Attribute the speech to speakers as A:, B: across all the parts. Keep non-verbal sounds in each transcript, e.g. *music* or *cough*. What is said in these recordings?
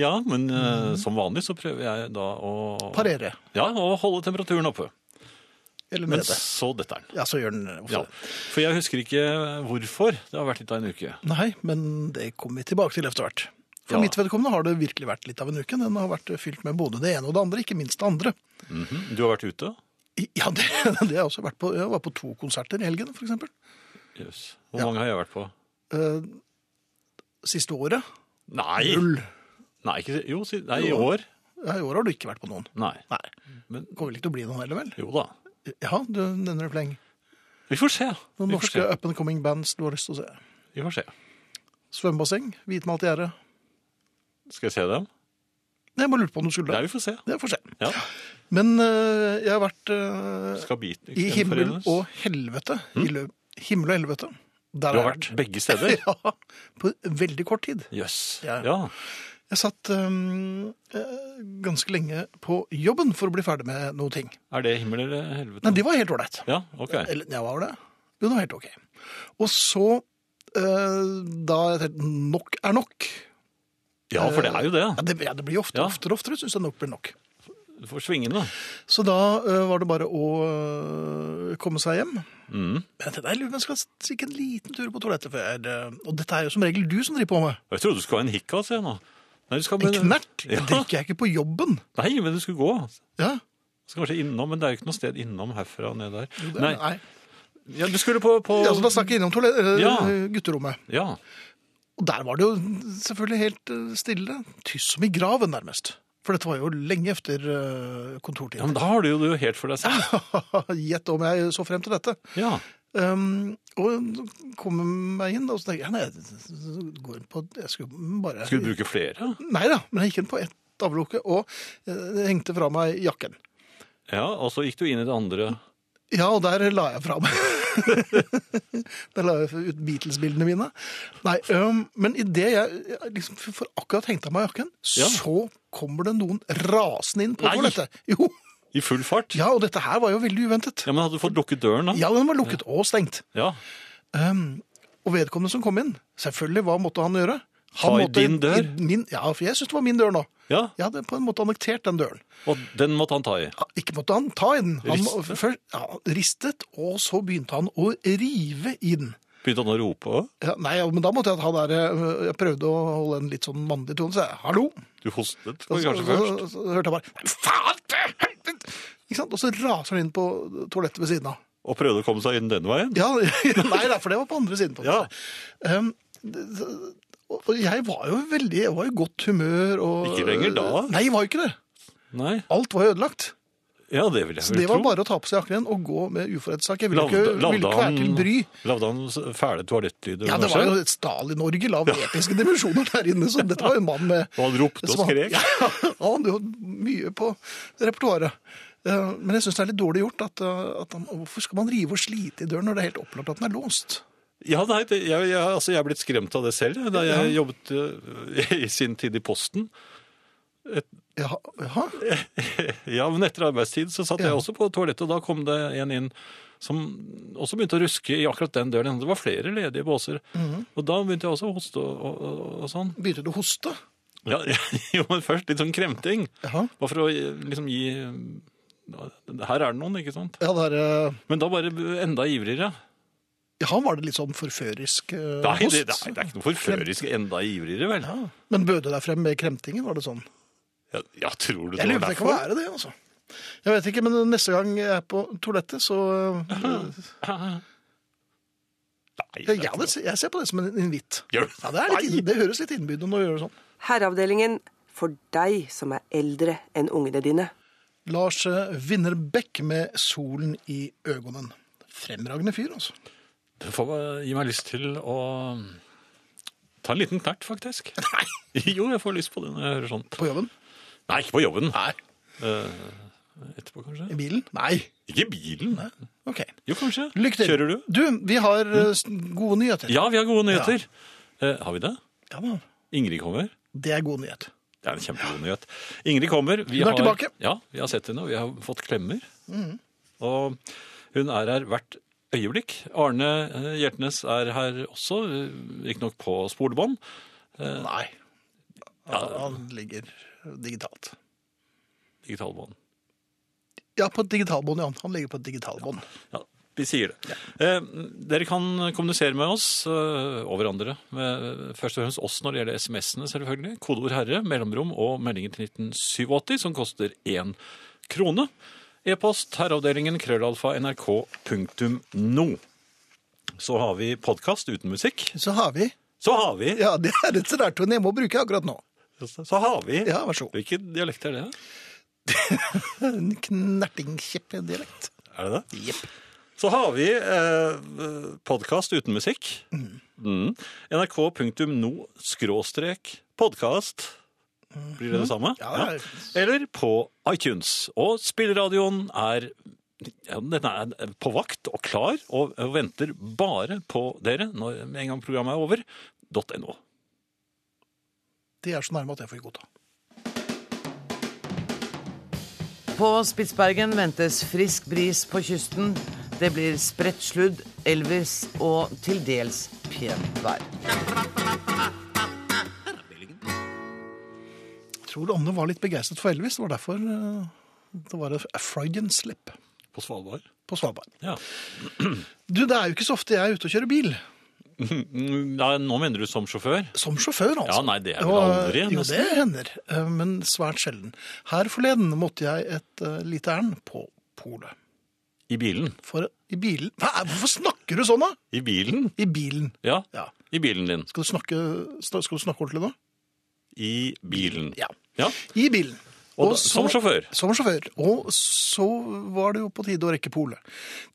A: Ja, men eh, som vanlig så prøver jeg da å
B: Parere.
A: Ja, å holde temperaturen oppe.
B: Eller
A: Men
B: nede.
A: så detter den.
B: Ja, så gjør den ofte
A: Ja.
B: det.
A: For jeg husker ikke hvorfor det har vært litt av en uke.
B: Nei, men det kommer vi tilbake til etter hvert. For
A: Ja.
B: mitt vedkommende har det virkelig vært litt av en uke. Den har vært fylt med både det ene og det andre, ikke minst det andre. Mhm.
A: Du har vært ute?
B: I- Ja, det, *laughs* det har jeg også vært på. Jeg var på to konserter i helgen, for eksempel.
A: Jøss. Hvor
B: Ja.
A: mange har jeg vært på?
B: Eh, Siste året.
A: Nei!
B: Null.
A: Nei, ikke, jo, si, nei, i
B: Jo.
A: år.
B: Ja, I år har du ikke vært på noen.
A: Nei.
B: Nei.
A: Men
B: Kommer vel ikke til å bli noen heller, vel?
A: jo da.
B: Ja, du nevner det fleng.
A: Vi får se.
B: Noen
A: Vi får
B: norske
A: se.
B: up and coming bands du har lyst til å se.
A: Vi får se.
B: Svømmebasseng, hvitmalt gjerde.
A: Skal jeg se dem?
B: Nei, Jeg bare lurte på om du skulle
A: Ja,
B: det.
A: vi får se.
B: Det får se.
A: Ja.
B: Men øh, jeg har vært øh,
A: Skal biten
B: i himmel
A: gjenforenes?
B: og helvete. I lø himmel og helvete. Der
A: Hm? Du har vært begge steder?
B: *laughs* Ja, på veldig kort tid.
A: Jøss.
B: Ja.
A: Ja.
B: Jeg satt øhm, øh, ganske lenge på jobben for å bli ferdig med noe ting.
A: Er det himmel eller helvete?
B: Nei, det var helt ålreit.
A: Ja, ok.
B: Eller, ja, var det? Jo, det var helt ok. Og så, øh, da jeg tenkte nok er nok
A: Ja, for det er jo det.
B: Ja, det, ja, det blir jo ofte,
A: Ja.
B: oftere og oftere, syns jeg nok blir nok.
A: Du får svingende.
B: Så da ø, var det bare å ø, komme seg hjem.
A: Mm.
B: Men jeg tenkte, jeg lurer på om jeg skal stikke en liten tur på toalettet før jeg ø, Og dette er jo som regel du som driver på med.
A: Jeg trodde du skulle ha en hikkas, jeg nå. Nei, du skal
B: En knert
A: Ja.
B: det drikker jeg ikke på jobben.
A: Nei, men du skulle gå. Du
B: Ja.
A: skal kanskje innom, men det er jo ikke noe sted innom herfra og ned der.
B: det-
A: Nei, ja, du skulle på, på...
B: Ja, så da stakk jeg innom toalett, ø,
A: Ja.
B: gutterommet.
A: Ja,
B: Og der var det jo selvfølgelig helt ø, stille. Tyst som i graven, nærmest. For dette var jo lenge etter ø, kontortid.
A: ja men da har du jo det jo helt for deg selv.
B: *laughs* Gjett om jeg så frem til dette.
A: Ja,
B: Um, og kommer meg inn, og så tenker jeg, ja, nei, så går jeg inn på, jeg skulle bare...
A: skulle du bruke flere?
B: Nei da, men jeg gikk inn på ett avlukke, og eh, hengte fra meg jakken.
A: Ja, og så gikk du inn i det andre.
B: Ja, og der la jeg fra meg. *laughs* der la jeg ut Beatles-bildene mine. Nei, um, men i det jeg, jeg liksom for akkurat hengte av meg jakken,
A: Ja.
B: så kommer det noen rasende inn på
A: Nei.
B: toalettet. Jo,
A: I full fart?
B: ja, og dette her var jo veldig uventet.
A: Ja, men hadde du fått lukket døren da?
B: Ja, den var lukket og stengt.
A: Ja.
B: Um, og vedkommende som kom inn, selvfølgelig, hva måtte han gjøre? Han
A: Ta i
B: måtte-
A: din dør?
B: i min, ja, for jeg syns det var min dør nå.
A: Ja,
B: Jeg hadde på en måte annektert den døren.
A: og den måtte han ta i.
B: Ja, Ikke måtte han ta i den. Han må-
A: Ristet?
B: først- ja, ristet, og så begynte han å rive i den.
A: Begynte han å rope også?
B: Ja, nei, ja, men da måtte jeg ta der eh, Jeg prøvde å holde en litt sånn mannlig tone, så jeg hallo.
A: Du hostet
B: Og så,
A: kanskje
B: så,
A: først?
B: så, så hørte jeg bare faen til helvete! Ikke sant? Og så raser han inn på toalettet ved siden av.
A: Og prøvde å komme seg inn denne veien?
B: Ja, *laughs* nei, nei, for det var på andre siden. På en
A: Ja.
B: måte. Um, det- det- og og jeg var jo veldig Jeg var i godt humør og
A: Ikke lenger da?
B: Nei, jeg var jo ikke det.
A: Nei,
B: Alt var jo ødelagt.
A: ja, det vil jeg vel tro.
B: Så det var bare å ta på seg jakken igjen og gå med uforrettet sak. Jeg ville ikke,
A: Lagde-
B: ville
A: lagde
B: ikke være
A: han-
B: til bry.
A: Lagde han s- fæle toalettlyder?
B: Ja, det
A: kanskje?
B: var jo et Stalin-orgel av episke dimensjoner der inne, så dette var jo en mann med
A: Og han ropte og
B: som- *laughs*
A: skrek?
B: Ja, han hadde jo mye på repertoaret. Eh, Men jeg syns det er litt dårlig gjort. At, eh, at han, hvorfor skal man rive og slite i døren når det er helt opplagt at den er låst?
A: Ja, nei, det, jeg, jeg, altså, jeg er blitt skremt av det selv. jeg, Da jeg jobbet øh, *laughs* i sin tid i Posten. *laughs*
B: Jaha, jaha.
A: Ja, men etter arbeidstid så satt
B: Ja.
A: jeg også på toalettet, og da kom det en inn som også begynte å ruske i akkurat den døren. Det var flere ledige båser.
B: Mhm.
A: Og da begynte jeg også å hoste og, og, og, og sånn.
B: Begynte du å hoste?
A: Ja, *laughs* jo, men først litt sånn kremting.
B: Jaha.
A: Bare for å eh, liksom gi ja, Her er det noen, ikke sant?
B: Ja, der, eh,
A: Men da bare enda ivrigere.
B: jaha, var det litt sånn forførisk eh,
A: Nei,
B: host?
A: det, nei, det er ikke noe forførisk enda ivrigere, vel?
B: Ja. Men bød du deg frem med kremtingen, var det sånn?
A: Ja, ja tror du det
B: Jeg lurer på
A: var
B: det kan
A: derfor?
B: være det, altså. Jeg vet ikke, men neste gang jeg er på toalettet, så eh,
A: Nei, det er
B: jeg,
A: ikke
B: hadde- jeg ser på det som en invitt.
A: noe. Gjør du
B: Ja, det, er litt, inn- det høres litt innbydende å gjøre sånn.
C: Herreavdelingen for deg som er eldre enn ungene dine.
B: Lars eh, Winnerbäck med 'Solen i øgonen'. Fremragende fyr, altså.
A: Det får meg- gi meg lyst til å um, Ta en liten knert, *laughs* faktisk.
B: Nei,
A: Jo, jeg får lyst på det når jeg hører sånt.
B: på jobben?
A: Nei, ikke på jobben.
B: Nei.
A: Eh, etterpå, kanskje.
B: I bilen? Nei.
A: Ikke i bilen.
B: Ok.
A: Jo, kanskje.
B: Lykke til.
A: Kjører du?
B: Du, vi har eh, s- gode nyheter.
A: Ja, vi har gode nyheter. Eh, har vi det?
B: Ja da.
A: Ingrid kommer.
B: Det er god nyhet.
A: Det er en kjempegod nyhet. Ingrid kommer. Vi
B: Hun er
A: har,
B: tilbake. Mm.
A: Ja, vi har sett henne, og vi har fått klemmer. Og hun er her hvert øyeblikk. Arne eh, Hjertnes er her også, eh, ikke nok på Eh, spolebånd.
B: Nei. Han, han ligger digitalt.
A: Digitalbånd.
B: Ja, på et digitalbånd, ja. Han ligger på et digitalbånd.
A: Ja, vi sier det. Eh, dere kan kommunisere med oss eh, og hverandre. Med, først og fremst oss når det gjelder SMS-ene, selvfølgelig. Kodeord herre, mellomrom og meldinger til 1987, som koster én krone. E-post herreavdelingen krøllalfa nrk.no. Så har vi podkast uten musikk.
B: Så har vi
A: Så har vi
B: Ja, det er et scenario jeg må bruke akkurat nå.
A: Så har vi
B: Ja, vær så god.
A: Hvilken dialekt er det?
B: En Knertingkjepp-dialekt.
A: Er det det?
B: Jepp.
A: Så har vi eh, podkast uten musikk. Mm. NRK.no-podkast. Blir det det samme?
B: Mm. Ja, det er-
A: Eller på iTunes. Og spilleradioen er ja, den er på vakt og klar og, og venter bare på dere når, med en gang programmet er over. .no.
B: De er så nærme at jeg får godta.
D: På Spitsbergen ventes frisk bris på kysten. Det blir spredt sludd, elvis og til dels pent vær.
B: Jeg tror Anne var litt begeistret for Elvis. Det var derfor eh, det var et Freudian slip
A: På Svalbard.
B: på Svalbard.
A: Ja.
B: Du, det er jo ikke så ofte jeg er ute og kjører bil.
A: Mm, Nei, nå mener du som sjåfør?
B: Som sjåfør, altså.
A: Ja, nei, det er vel
B: Og,
A: aldri,
B: Jo,
A: nesten.
B: det hender, eh, men svært sjelden. Her forleden måtte jeg et eh, lite ærend på polet.
A: I bilen.
B: For i bilen Hva, er- Hvorfor snakker du sånn, da?
A: I bilen?
B: I bilen.
A: Ja.
B: Ja.
A: I bilen din.
B: Skal du snakke, sna- skal du snakke ordentlig nå?
A: I bilen.
B: Ja.
A: ja.
B: I bilen.
A: Og da- som sjåfør?
B: Som sjåfør. Og så var det jo på tide å rekke polet.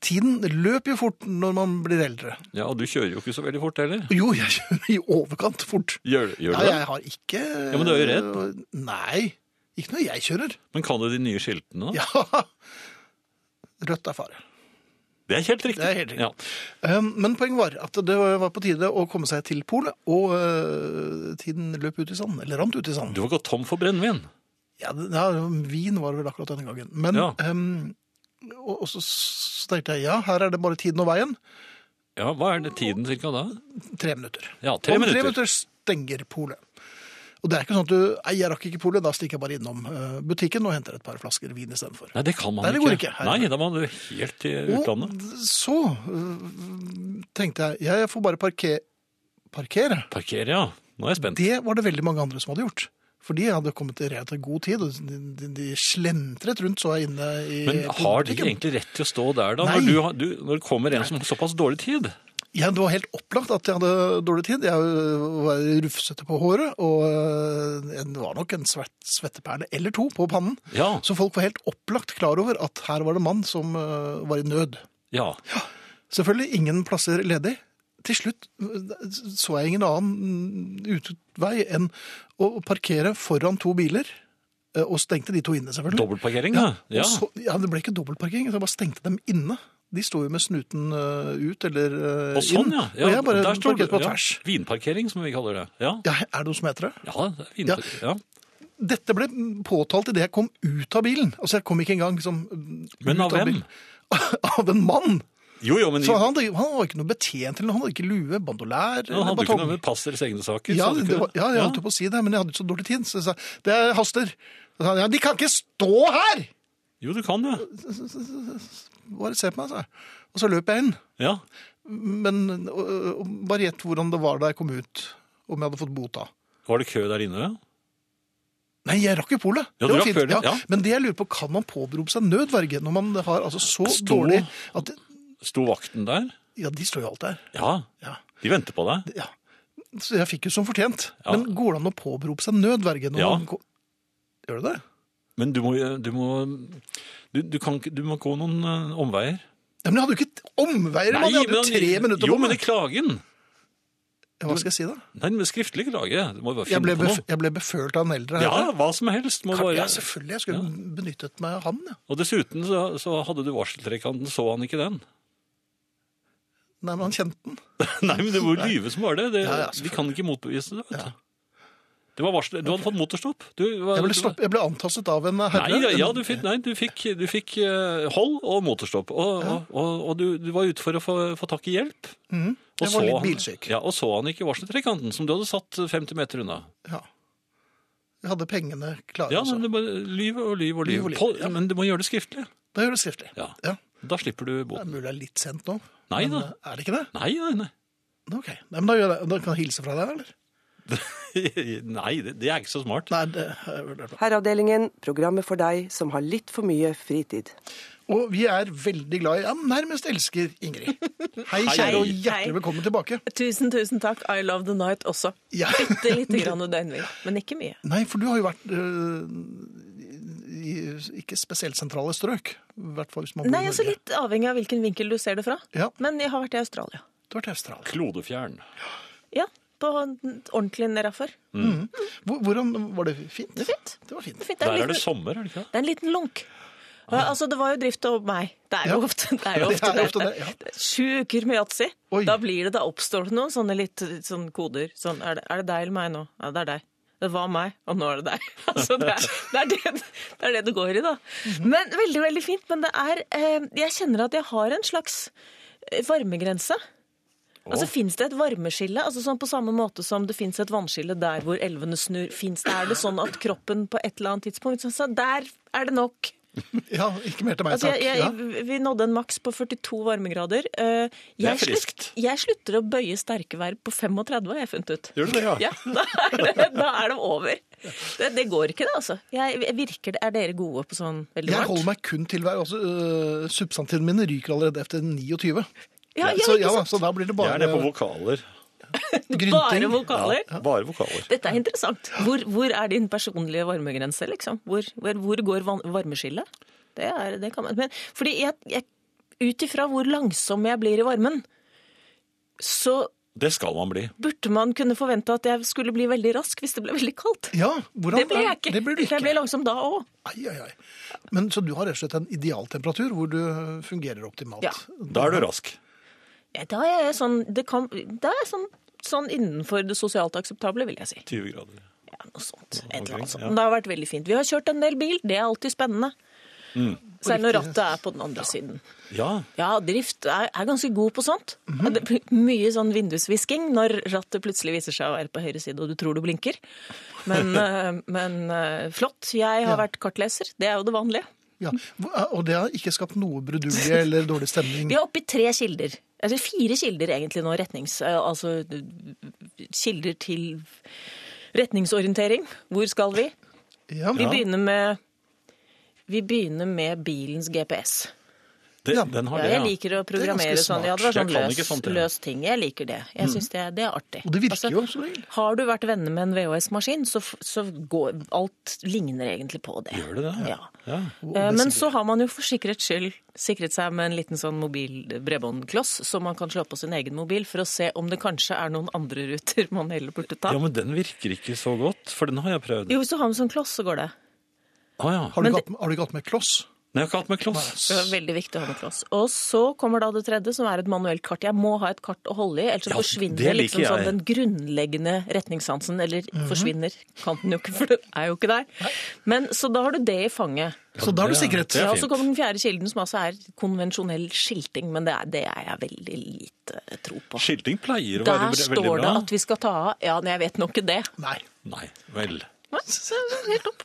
B: Tiden løper jo fort når man blir eldre.
A: Ja, og du kjører jo ikke så veldig fort heller.
B: Jo, jeg kjører i overkant fort.
A: Gjør, gjør
B: Ja,
A: du det?
B: jeg har ikke
A: Ja, men du er jo redd.
B: Nei. Ikke når jeg kjører. *laughs*
A: Men kan du de nye skiltene? da?
B: Ja. Rødt er fare.
A: Det er helt riktig.
B: Det er helt riktig.
A: Ja.
B: Um, Men poenget var at det var på tide å komme seg til polet, og øh, tiden løp ut i sanden. Eller rant ut i sanden.
A: Du har gått tom for brennevin.
B: Ja, det- ja, vin var det vel akkurat denne gangen. Men
A: Ja.
B: ehm, og, og så, så tenkte jeg ja, her er det bare tiden og veien.
A: Ja, Hva er det tiden cirka da?
B: Tre minutter.
A: Ja, tre
B: Om
A: minutter.
B: tre minutter stenger polet. Og det er ikke sånn at du Nei, jeg rakk ikke polet, da stikker jeg bare innom eh, butikken og henter et par flasker vin istedenfor.
A: Nei, det kan man
B: Nei, det Oh.
A: ikke.
B: går ikke. Her-
A: Nei, da må du helt til utlandet.
B: Og så øh, tenkte jeg jeg får bare parke, parkere.
A: Parkere, ja. Nå er jeg spent.
B: Det var det veldig mange andre som hadde gjort. For de hadde kommet til Rea til god tid, og de, de, de slentret rundt så jeg inne i
A: Men har de
B: butikken.
A: egentlig rett til å stå der, da?
B: eh, Nei.
A: Når, du, har- du, når det kommer en som har såpass dårlig tid?
B: Ja, det var helt opplagt at jeg hadde dårlig tid. Jeg øh, var rufsete på håret, og øh, det var nok en svett, svetteperle eller to på pannen.
A: Ja.
B: Så folk var helt opplagt klar over at her var det en mann som øh, var i nød.
A: ja.
B: Selvfølgelig ingen plasser ledig. Til slutt øh, så jeg ingen annen øh, utvei enn å parkere foran to biler, øh, og stengte de to inne selvfølgelig.
A: Dobbeltparkering, da. *laughs* Ja.
B: Og Så, ja, det ble ikke dobbeltparkering, så jeg bare stengte dem inne. De sto jo med snuten øh, ut eller øh,
A: Og sånn,
B: inn.
A: ja.
B: og jeg bare
A: der står
B: parkerte
A: du-
B: på tvers.
A: Ja. Vinparkering, som vi kaller det. Ja,
B: Ja, er det noe som heter det?
A: ja, det er vinparkering. Ja.
B: Dette ble påtalt idet jeg kom ut av bilen. Altså, jeg kom ikke engang liksom
A: Men
B: ut
A: av hvem?
B: bilen. *laughs* av en mann!
A: Jo, jo, men
B: Så han, hadde- han var ikke noe betjent eller noe. Han hadde ikke lue, bandolær
A: Han
B: eller
A: hadde jo ikke
B: batong.
A: noe med pass deres egne saker.
B: Ja,
A: så hadde
B: det
A: ikke
B: var, ja, jeg holdt jo på å si det, men jeg hadde ikke så dårlig tid. Så jeg sa det haster. Så sa han ja, de kan ikke stå her!
A: Jo, du kan det.
B: Bare se på meg, sa jeg. Og så løp jeg inn.
A: Ja.
B: Men øh, øh, bare gjett hvordan det var da jeg kom ut, om jeg hadde fått bot da.
A: Var det kø der inne?
B: Nei, jeg rakk jo polet.
A: Ja, du
B: det var
A: rakk
B: fint.
A: polet, ja.
B: Men det jeg lurer på, kan man påberope seg nødverge når man har altså så
A: Stå.
B: dårlig at
A: Sto vakten der?
B: Ja, de står jo alt der.
A: Ja.
B: Ja.
A: De venter på deg.
B: ja. Så jeg fikk jo som fortjent.
A: Ja.
B: Men går det an å påberope seg nødverge når
A: Ja.
B: man ko- Gjør det det?
A: Men du må Du må, du, du kan, ikke- du må gå noen eh, omveier.
B: Ja, men jeg hadde jo ikke omveier, mann! Jeg hadde jo tre minutter
A: Jo,
B: på
A: men i
B: meg.
A: klagen.
B: Hva skal jeg si, da?
A: Nei, men skriftlig klage. Du må jo bare
B: Jeg ble,
A: finne på
B: bef
A: noe.
B: jeg ble befølt av en eldre
A: Ja,
B: herre.
A: hva som helst. Må
B: Kan,
A: bare...
B: ja, selvfølgelig. Jeg skulle benyttet meg av han. Ja.
A: Og dessuten så, så hadde du varseltrekanten, så han ikke den.
B: Nei, men han kjente den.
A: *laughs* Nei, men det var jo lyve som var det. det
B: Ja, ja,
A: vi kan ikke motbevise det. vet
B: Ja.
A: Du Det var varsel, du hadde fått motorstopp. Du, var-
B: Jeg ble,
A: du-
B: stopp, jeg ble antastet av en eh, herre.
A: Nei, ja, ja, du *laughs* fikk, nei, du fikk, du fikk eh, hold og motorstopp. Og, og, og, og du, du var ute for å få, få tak i hjelp. Og
B: Jeg var
A: så
B: litt
A: han-
B: bilsyk.
A: Ja, og så han ikke varseltrekanten, som du hadde satt 50 meter unna.
B: Ja. Jeg hadde pengene klare.
A: Ja,
B: altså.
A: men det bare lyv og lyv og
B: Lyv
A: lyv.
B: og lyv,
A: På- Men du må gjøre det skriftlig.
B: Da gjør det skriftlig.
A: Ja.
B: Ja.
A: Da slipper du
B: Det er
A: boten.
B: mulig det er litt sent nå.
A: Nei
B: men,
A: da.
B: eh, Er det ikke det?
A: Nei, nei, nei. *laughs*
B: Nei, Ok. Nei, men da, gjør jeg, det. da kan jeg hilse fra deg, eller?
A: nei det, det er ikke så smart.
B: Nei, det er vel bra.
C: Herreavdelingen, programmet for deg som har litt for mye fritid.
B: Og vi er veldig glad i, ja, nærmest elsker
A: *laughs*
B: Ingrid. Hei, kjære, og hjertelig
E: Hei.
B: velkommen tilbake.
E: Tusen, tusen takk. I love the night også.
B: Ja.
E: Bitte
B: *laughs*
E: lite grann døgnvill, men ikke mye.
B: Nei, for du har jo vært øh, i i ikke spesielt sentrale strøk. I hvert fall hvis man bor
E: Nei,
B: i
E: altså
B: Norge.
E: litt avhengig av hvilken vinkel du ser det fra.
B: Ja.
E: Men jeg har vært i Australia.
B: Du har vært i Australia.
A: Klodefjern.
E: Ja, på ordentlig nedafor.
B: Hvor- Hvordan var det fint?
E: Det er fint.
B: Det var fint.
E: Det er, fint. Det er,
A: Der
E: en
A: er det Ah.
E: liten,
A: sommer, er det ikke det?
E: det er en liten lunk. Ja, altså, det var jo drift og meg. Det er jo
B: Ja.
E: ofte det. Er jo
B: Det
E: ofte
B: er ofte
E: det.
B: det, ja.
E: Det er Sju uker med yatzy.
B: Oi.
E: Da blir det, da oppstår det noen sånne litt sånn koder. Sånn, er, det, er det deg eller meg nå? Ja, det er deg. Det var meg, og nå er det deg. *laughs* Altså, det, er, det, er det, det er det det går i, da. Men Veldig, veldig fint. Men det er eh, Jeg kjenner at jeg har en slags eh, varmegrense. Altså, Fins det et varmeskille? Altså sånn På samme måte som det fins et vannskille der hvor elvene snur. Finnes det, er det sånn at kroppen på et eller annet tidspunkt sånn, så Der er det nok!
B: Ja, ikke mer til meg,
E: Altså,
B: takk.
E: jeg, jeg,
B: Ja.
E: Vi nådde en maks på 42 varmegrader. Eh, jeg
A: friskt.
E: jeg slutter å bøye sterke verb på 35, har jeg funnet ut.
A: Gjør du det, ja?
E: Ja, *laughs* da er det, da er det over. Det, det går ikke, det, altså. Jeg, jeg virker, Er dere gode på sånn veldig
B: Jeg
E: varmt?
B: holder meg kun til hver altså, øh, Substantivene mine ryker allerede etter 29.
E: Ja, ja,
B: så,
E: ikke
B: da,
E: sant?
B: så da blir det
A: Jeg
B: bare
A: er nede på vokaler.
B: grynting.
E: Bare vokaler.
A: Ja, bare vokaler.
E: Dette er interessant. Hvor, hvor er din personlige varmegrense, liksom? Hvor, hvor, hvor går van- varmeskillet? Det, er, det kan man Men fordi jeg, jeg Ut ifra hvor langsom jeg blir i varmen, så
A: Det skal man bli.
E: burde man kunne forvente at jeg skulle bli veldig rask hvis det ble veldig kaldt.
B: Ja, hvordan,
E: Det ble jeg ikke.
B: Det blir du
E: For
B: ikke.
E: Jeg ble langsom da òg.
B: Ai, ai, ai. Men, så du har rett og slett en idealtemperatur hvor du fungerer optimalt.
E: Ja.
A: Da er du rask.
E: Ja, Da er jeg sånn, det kan, da er jeg sånn, sånn innenfor det sosialt akseptable, vil jeg si.
A: 20 grader.
E: Ja, noe sånt. Et eller
A: omkring,
E: annet sånt.
A: ja.
E: Men Det har vært veldig fint. Vi har kjørt en del bil, det er alltid spennende.
B: Mm.
E: Særlig når rattet er på den andre siden.
A: Ja,
E: Ja, drift er, er ganske god på sånt.
B: Mhm.
E: Det blir mye sånn vindusvisking når rattet plutselig viser seg å være på høyre side, og du tror du blinker.
B: *laughs*
E: Men, eh, men eh, flott. Jeg har vært kartleser. Det er jo det vanlige.
B: Ja. Hva- Og det har ikke skapt noe
E: *laughs*
B: brudulje eller dårlig stemning.
E: Vi er oppe i tre kilder. Eller fire kilder egentlig nå, retnings... eh, Altså eh, kilder til retningsorientering. Hvor skal vi?
B: Ja.
E: Vi begynner med vi begynner med bilens GPS.
A: det,
B: Ja.
A: den har
E: Ja,
A: det,
E: jeg liker å
B: er ganske
E: programmere sånn. Ja, det var
A: smart.
E: sånn
A: Jeg kan
E: løs,
A: ikke sånt, jeg.
E: løs ting. Jeg liker det. Jeg synes det, det er artig. Altså,
B: Og det virker jo som regel.
E: Har du vært venner med en VHS-maskin, så, f- så går alt ligner egentlig på det.
A: Gjør det det?
E: Ja.
A: Ja.
E: Eh, Men så har man jo for sikkerhets skyld sikret seg med en liten sånn mobil bredbåndkloss, så man kan slå på sin egen mobil for å se om det kanskje er noen andre ruter *laughs* man heller burde ta.
A: Ja, men den virker ikke så godt, for den har jeg prøvd.
E: Jo, hvis du har med sånn kloss, så går det.
A: Ah, ja.
B: Har, du
E: Men
B: ikke hatt, har du ikke hatt med kloss?
A: Nei, jeg har ikke hatt med kloss.
E: Det var veldig viktig å ha med kloss. Og så kommer da det tredje, som er et manuelt kart. Jeg må ha et kart å holde i, ellers så
A: Ja, det
E: forsvinner
A: liker
E: liksom sånn
A: jeg. Mhm.
E: den grunnleggende retningssansen. Eller forsvinner, kan den jo ikke, for den er jo ikke der. Men Så da har du det i fanget.
B: Så da har du
A: det er-
B: sikkerhet.
A: det er
E: Ja, og
A: fint.
E: så kommer den fjerde kilden, som altså er konvensjonell skilting. Men det er, det er jeg veldig lite tro på.
A: Skilting pleier å være
E: Der
A: ve- veldig
E: står det
A: bra.
E: at vi skal ta av Ja, men jeg vet nå ikke det.
B: Nei.
A: Nei, vel.
E: Hva? Så- Helt opp.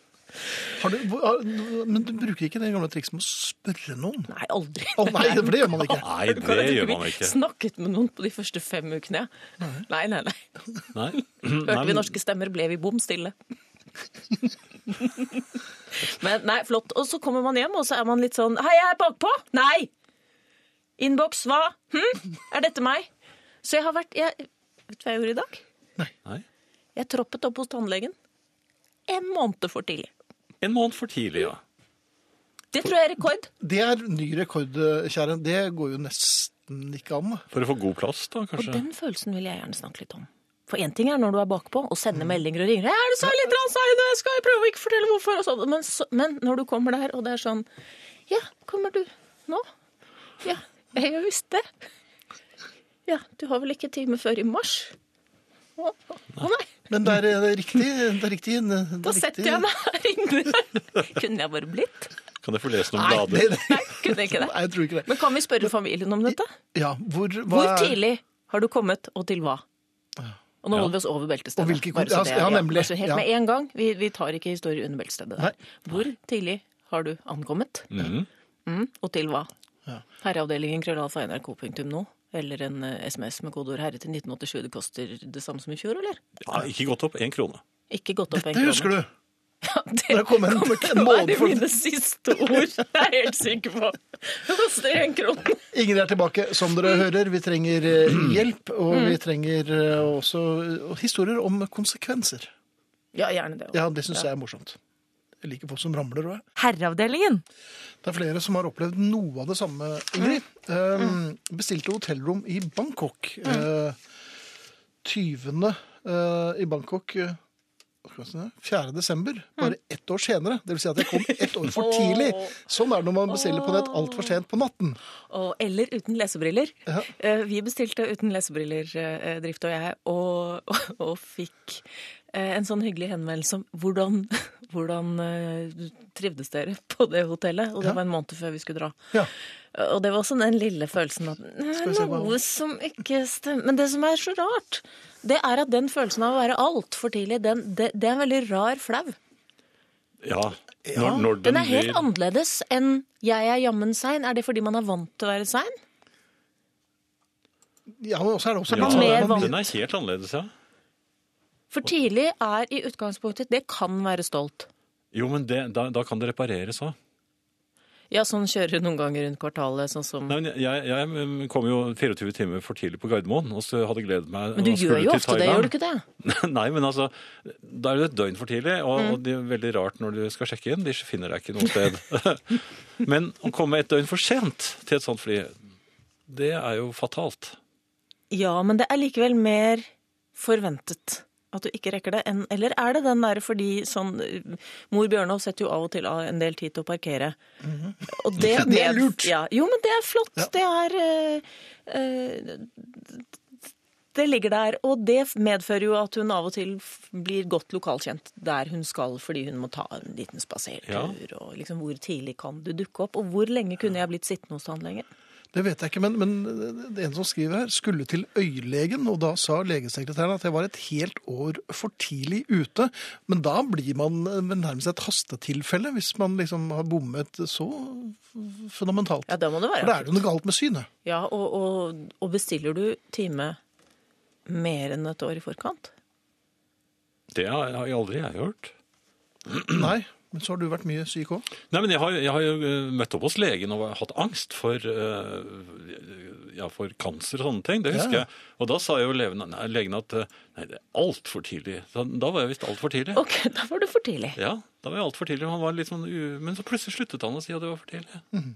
B: Har du, hvor- har, men du bruker ikke det gamle trikset med å spørre noen?
E: Nei, aldri.
B: Å nei, for det gjør man ikke.
A: Nei,
E: Kan
A: det
E: jeg
A: gjør
E: ikke
A: man ikke.
E: Snakket med noen på de første fem ukene. ja. Nei, nei, nei.
A: Nei. *clears throat*
E: Hørte
A: Nei,
E: vi
A: men-
E: norske stemmer, ble vi
A: *laughs*
E: bom stille. Men nei, flott. Og så kommer man hjem, og så er man litt sånn Hei, jeg er bakpå! Nei! Innboks, hva? Hm? Er dette meg? Så jeg har vært jeg, Vet du hva jeg gjorde i dag?
A: Nei.
E: Jeg troppet opp hos tannlegen. En måned for tidlig.
A: En måned for tidlig, ja.
E: Det tror jeg er rekord.
B: Det er ny rekord, kjære. Det går jo nesten ikke an. da.
A: For å få god plass, da,
E: Og
A: kanskje.
E: den følelsen vil jeg gjerne snakke litt om. For én ting er når du er bakpå og sender meldinger og ringer. Er det så litt rann seine? Skal jeg prøve å ikke fortelle hvorfor? Og sånn. men, så, men når du kommer der, og det er sånn Ja, kommer du nå? Ja, jeg har visst det. Ja, du har vel ikke time før i mars? Å, å nei.
B: Men det er, det er riktig. Det er riktig. Det er
E: Da
B: riktig.
E: setter jeg meg her inne.
B: *laughs*
E: Kunne jeg bare blitt?
A: Kan jeg få lese noen
B: Nei,
A: blader?
B: det, det,
E: Nei, kunne jeg ikke det.
B: nei, jeg tror ikke det.
E: Men kan vi spørre familien om dette?
B: Ja, hvor, hva
E: Hvor
B: er-
E: tidlig har du kommet, og til hva? Og nå
A: Ja.
E: holder vi oss over beltestedet.
B: Og hvilke
E: bare så
B: kon- ja,
E: det er-
B: ja, nemlig.
E: Altså, helt
B: Ja.
E: med en gang. Vi, vi tar ikke historier under beltestedet.
B: Nei.
E: der. Hvor tidlig har du ankommet?
A: Mhm.
E: Mm, og til hva?
B: Ja.
E: Herreavdelingen altså krøllalfa nrk.no. Eller en eh, SMS med kodeord 'herre' til 1987. Det koster det samme som i fjor, eller?
A: Ja, ikke gått opp én krone.
E: Ikke gått opp en
B: Det husker du.
E: Det
B: Det kom en-
E: kommer til
B: en
E: å
B: måned
E: være
B: for-
E: mine siste ord. Det er jeg helt sikker på. Det koster en krone.
B: Ingrid er tilbake, som
E: Mm.
B: dere hører. Vi trenger eh, hjelp, og vi trenger eh, også eh, historier om konsekvenser.
E: Ja, gjerne det. også.
B: Ja, det syns jeg er morsomt. Jeg liker folk som ramler òg.
F: Herreavdelingen.
B: Det er flere som har opplevd noe av det samme, Ingrid. Ehm, Bestilte hotellrom i Bangkok. Eh, Tyvene eh, i Bangkok eh, hva skal jeg si det? 4. desember, bare ett år senere. Det vil si at jeg kom ett år for tidlig. Sånn er det når man bestiller på nett altfor sent på natten.
E: Og, eller uten lesebriller.
B: Ja.
E: Eh, Vi bestilte uten lesebriller, eh, Drift og jeg, og, *laughs* og, og fikk eh, en sånn hyggelig henvendelse om hvordan, *laughs* hvordan eh, trivdes dere på det hotellet. Og det
B: Ja.
E: var en måned før vi skulle dra.
B: Ja.
E: Og det var også den lille følelsen at
B: Skal vi
E: eh,
B: se hva-
E: noe som ikke stemmer. Men det som er så rart, det er at den følelsen av å være altfor tidlig, den, det, det er en veldig rar flau.
A: Ja. Når, når den,
E: Den er helt
A: blir
E: annerledes enn 'jeg er jammen sein'. Er det fordi man er vant til å være sein?
B: ja, men også er det også
A: Ja,
B: litt sånn
E: Mer
B: at man
A: Den er helt annerledes, ja.
E: For tidlig er i utgangspunktet Det kan være stolt.
A: Jo, men det, da, da kan det repareres òg.
E: Ja, sånn kjører du noen ganger rundt kvartalet, sånn som
A: Nei, men jeg, jeg mm, kom jo 24 timer for tidlig på Gardermoen, og så hadde jeg gledet meg
E: Men du
A: og
E: gjør
A: skulle
E: jo
A: til
E: ofte det,
A: Thailand.
E: gjør du ikke det?
A: *laughs* Nei, men altså, da er det et døgn for tidlig, og, og det er veldig rart når du skal sjekke inn. De finner deg ikke noe sted. *laughs* men å komme et døgn for sent til et sånt fly, det er jo fatalt.
E: Ja, men det er likevel mer forventet at du ikke rekker det enn Eller er det den derre fordi sånn eh, Mor Bjørnov setter jo av og til av en del tid til å parkere. Og
B: *laughs*
E: det,
B: Mhm. det er
E: med-
B: lurt.
E: Ja, jo, men det er flott.
B: Ja.
E: Det er eh, eh, Det ligger der. Og det medfører jo at hun av og til f- blir godt lokalkjent der hun skal fordi hun må ta en liten spasertur. Og liksom hvor tidlig kan du dukke opp? Og hvor lenge kunne jeg blitt sittende hos han lenger?
B: Det vet jeg ikke, men, men det er en som skriver her skulle til øyelegen, og da sa legesekretæren at jeg var et helt år for tidlig ute. Men da blir man eh, nærmest et hastetilfelle, hvis man liksom har bommet så f- fundamentalt.
E: Ja, da må det være
B: For da er det jo noe galt med synet. *clears throat*
E: Ja, og, og, og bestiller du time mer enn et år i forkant?
A: Det har jeg har jeg aldri jeg hørt.
B: Nei, men så har du vært mye syk òg.
A: Nei, men jeg har, jeg har jo eh, møtt opp hos legen og hatt angst for, eh, ja, for kancer og sånne ting. Det husker
B: Ja.
A: jeg. Og da sa jo legen, nei, legen at eh, nei, det er altfor tidlig. Da, da var jeg visst altfor tidlig.
E: Ok, da var du for tidlig.
A: Ja, da var jeg altfor tidlig. Han var litt sånn u... Men så plutselig sluttet han å si at det var for tidlig. Mhm.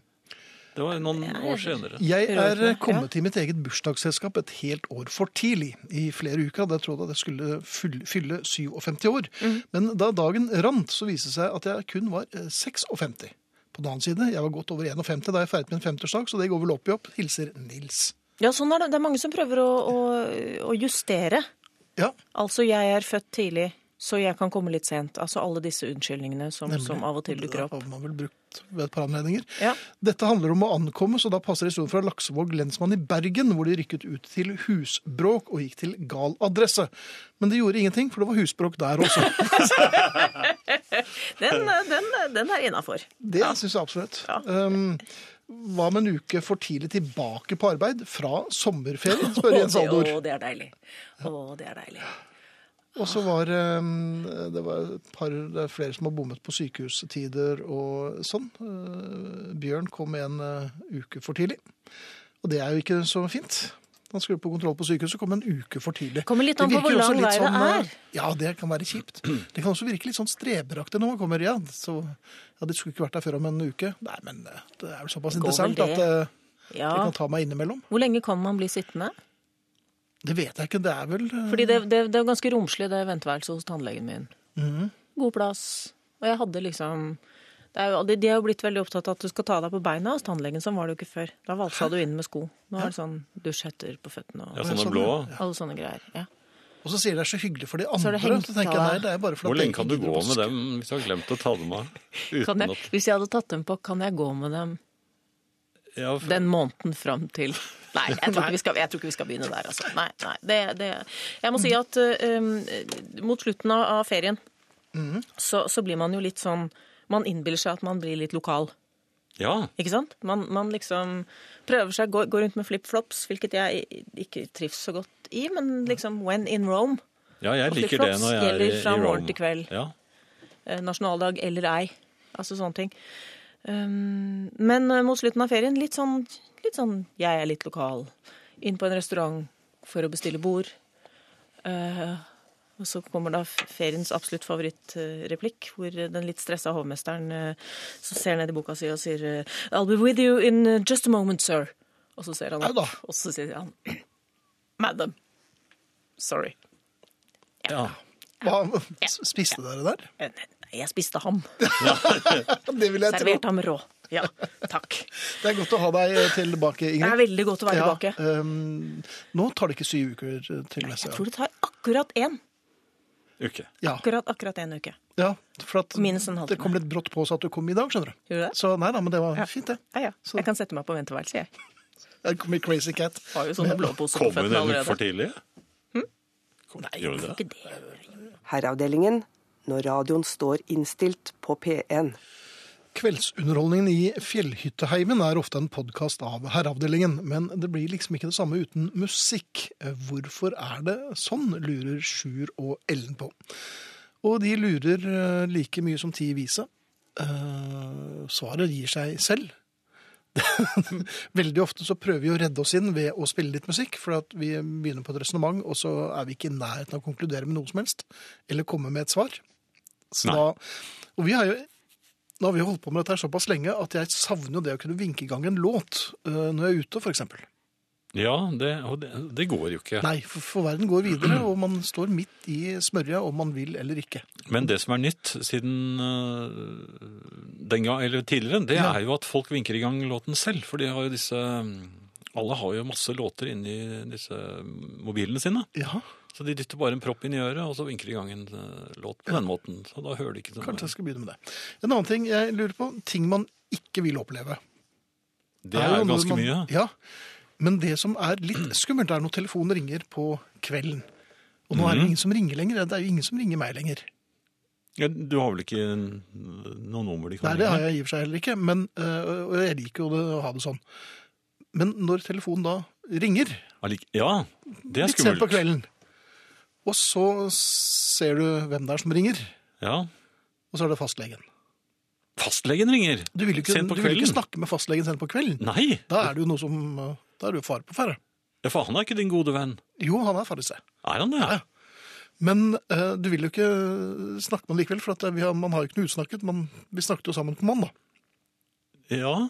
A: Det var noen år senere.
B: Jeg er
E: Rørende,
B: kommet i mitt eget bursdagsselskap et helt år for tidlig. I flere uker hadde jeg trodd at jeg skulle fylle, fylle 57 år.
E: Mhm.
B: Men da dagen rant, så viste det seg at jeg kun var eh, 56. På den annen side, jeg var godt over 51 da jeg feiret min 50-årsdag, så det går vel opp i opp. Hilser Nils.
E: Ja, sånn er det. Det er mange som prøver å, å, å justere.
B: Ja,
E: Altså, jeg er født tidlig, så jeg kan komme litt sent. Altså alle disse unnskyldningene som,
B: nemlig.
E: som av og til
B: *laughs*
E: dukker opp.
B: Det har man vel brukt ved et par anledninger.
E: Ja.
B: Dette handler om å ankomme, så da passer historien fra Laksevåg lensmann i Bergen, hvor de rykket ut til husbråk og gikk til gal adresse. Men det gjorde ingenting, for det var husbråk der også.
E: Den, den, den er innafor.
B: Det synes jeg absolutt.
E: Ja.
B: Um, hva med en uke for tidlig tilbake på arbeid fra
E: *laughs*
B: sommerferien, spør Jens Aldor.
E: Å, det er deilig. Å, det er deilig.
B: Og så var um, det var et par, det er flere som har bommet på sykehustider og sånn. Uh, Bjørn kom en uh, uke for tidlig, og det er jo ikke så fint. Han skulle på kontroll på sykehuset, kom en uke for tidlig.
E: Kommer litt an på
B: Det virker
E: hvor
B: også
E: lang
B: litt
E: vei det
B: sånn,
E: er.
B: uh, Ja, det kan være kjipt. Det kan også virke litt sånn streberaktig når man kommer igjen. Så, ja, de skulle ikke vært der før om en uke. Nei, men uh, det er vel såpass
E: Går vel
B: interessant
E: det.
B: at uh,
E: Ja.
B: Jeg kan ta meg innimellom.
E: Hvor lenge kan man bli sittende?
B: Det vet jeg ikke. Det er vel eh,
E: Fordi det, det, det er ganske romslig, det venteværelset hos tannlegen min.
A: Mhm.
E: God plass. Og jeg hadde liksom det er jo, de, de er jo blitt veldig opptatt av at du skal ta deg på beina hos tannlegen. Sånn var det jo ikke før. Da valsa du inn med sko. Nå er det sånn dusjhetter på føttene og
A: Ja, sånne
B: sånn,
A: blå.
B: ja.
E: alle sånne greier. Ja.
B: Og så sier de det er så hyggelig for de
E: Så er
B: andre.
E: det
B: Så,
E: hengt
B: tenker jeg
E: av-
B: nei, det er bare for
A: Hvor
B: at jeg
A: lenge kan du
B: ikke gidder
A: gå
B: å
A: med
B: vaske.
A: dem hvis du har glemt å ta dem av?
E: Kan
A: Uten
E: jeg,
A: at
E: hvis jeg hadde tatt dem på, kan jeg gå med dem
A: ja, for-
E: den måneden fram til Nei, jeg tror ikke vi skal, jeg tror ikke vi skal begynne der, altså. Nei, nei, det, det. Jeg må si at eh, um, mot slutten av, av ferien
A: Mhm.
E: så, så blir man jo litt sånn Man innbiller seg at man blir litt lokal.
A: ja.
E: Ikke sant? Man, man liksom prøver seg, går, går rundt med flipflops, hvilket jeg i- ikke trives så godt i, men liksom when in Rome,
A: ja, jeg
E: Og
A: liker det
E: flipflops
A: når jeg er i,
E: gjelder fra
A: i
E: morgen
A: Rome.
E: til kveld.
A: Ja.
E: eh, nasjonaldag eller ei, altså sånne ting. Um, men eh, mot slutten av ferien, litt sånn, litt sånn jeg er litt lokal, inn på en restaurant for å bestille bord. Eh, og så kommer da f- feriens absolutt favorittreplikk, hvor eh, den litt stressa hovmesteren eh, så ser ned i boka si og sier eh, I'll be with you in eh, just a moment, sir. Og så ser han
B: Au da.
E: opp, og så sier han Madam. Sorry.
A: ja.
B: Hva, spiste dere der?
E: Eh, Nei, jeg spiste ham.
B: Det vil jeg tro.
E: Servert ham rå. Ja, takk.
B: Det er godt å ha deg eh, tilbake, Ingrid.
E: Det er veldig godt å være tilbake.
B: Ja, ehm, nå tar det ikke syv uker eh, til neste
E: Jeg
B: gang.
E: tror det tar akkurat én.
A: Uke.
B: Ja,
E: Akkurat, akkurat én uke.
B: ja, for at
E: Minus en halvtime.
B: det kom litt brått på oss at du kom i dag, skjønner du.
E: Gjorde det?
B: Så nei da, men det var fint, det.
E: Ja, ja.
B: Så-
E: Jeg kan sette meg på venteværelset, jeg.
B: Jeg kom i Crazy Cat.
E: Har jo sånne blå poser på
A: Kom hun
E: føttene
A: en uke for
E: allerede.
A: tidlig? Kom, Gjorde hun det?
E: Ikke det.
C: Herreavdelingen når radioen står innstilt på P1.
B: Kveldsunderholdningen i Fjellhytteheimen er ofte en podkast av Herreavdelingen, men det blir liksom ikke det samme uten musikk. Hvorfor er det sånn, lurer Sjur og Ellen på. Og de lurer eh, like mye som ti vise. Eh, Svaret gir seg selv. *laughs* Veldig ofte så prøver vi å redde oss inn ved å spille litt musikk, for at vi begynner på et resonnement, og så er vi ikke i nærheten av å konkludere med noe som helst, eller komme med et svar. Så
A: Nei.
B: da, og vi har jo nå har vi jo holdt på med dette her såpass lenge at jeg savner jo det å kunne vinke i gang en låt øh, når jeg er ute, f.eks.
A: Ja, det, og det, det går jo ikke.
B: Nei, for, for verden går videre, og man står midt i smørja om man vil eller ikke.
A: Men det som er nytt siden øh, den gang, eller tidligere, det
B: Ja.
A: er jo at folk vinker i gang låten selv. For de har jo disse Alle har jo masse låter inni disse mobilene sine.
B: Ja,
A: Så de dytter bare en propp inn i øret, og så vinker de i gang en øh, låt på den måten. Så da hører de ikke det.
B: kanskje jeg skal begynne med det. En annen ting jeg lurer på, ting man ikke vil oppleve.
A: Det er jo
B: noe
A: ganske
B: man-
A: mye.
B: Ja, men det som er litt skummelt, er når telefonen ringer på kvelden. Og nå er
A: Mhm.
B: det ingen som ringer lenger. Det er jo ingen som ringer meg lenger.
A: Ja, du har vel ikke noe nummer de kan
B: Nei, det har
A: ringe?
B: jeg i og for seg heller ikke, men, øh, og jeg liker jo det, å ha det sånn. Men når telefonen da ringer
A: Allik- Ja, det er
B: Litt sent på
A: skummelt.
B: kvelden. Og så ser du hvem det er som ringer,
A: Ja.
B: og så er det fastlegen.
A: Fastlegen ringer!
B: Du vil jo ikke,
A: Sent på
B: du vil jo ikke
A: kvelden.
B: snakke med fastlegen sent på kvelden.
A: Nei!
B: Da er det jo noe som eh, Da er det jo fare på ferde.
A: Ja, for han er ikke din gode venn.
B: Jo, han er farlig seg.
A: Er han det?
B: Ja. Men eh, du vil jo ikke snakke med han likevel, for at eh, vi har, man har jo ikke noe utsnakket. Man, vi snakket jo sammen på mandag,
A: Ja.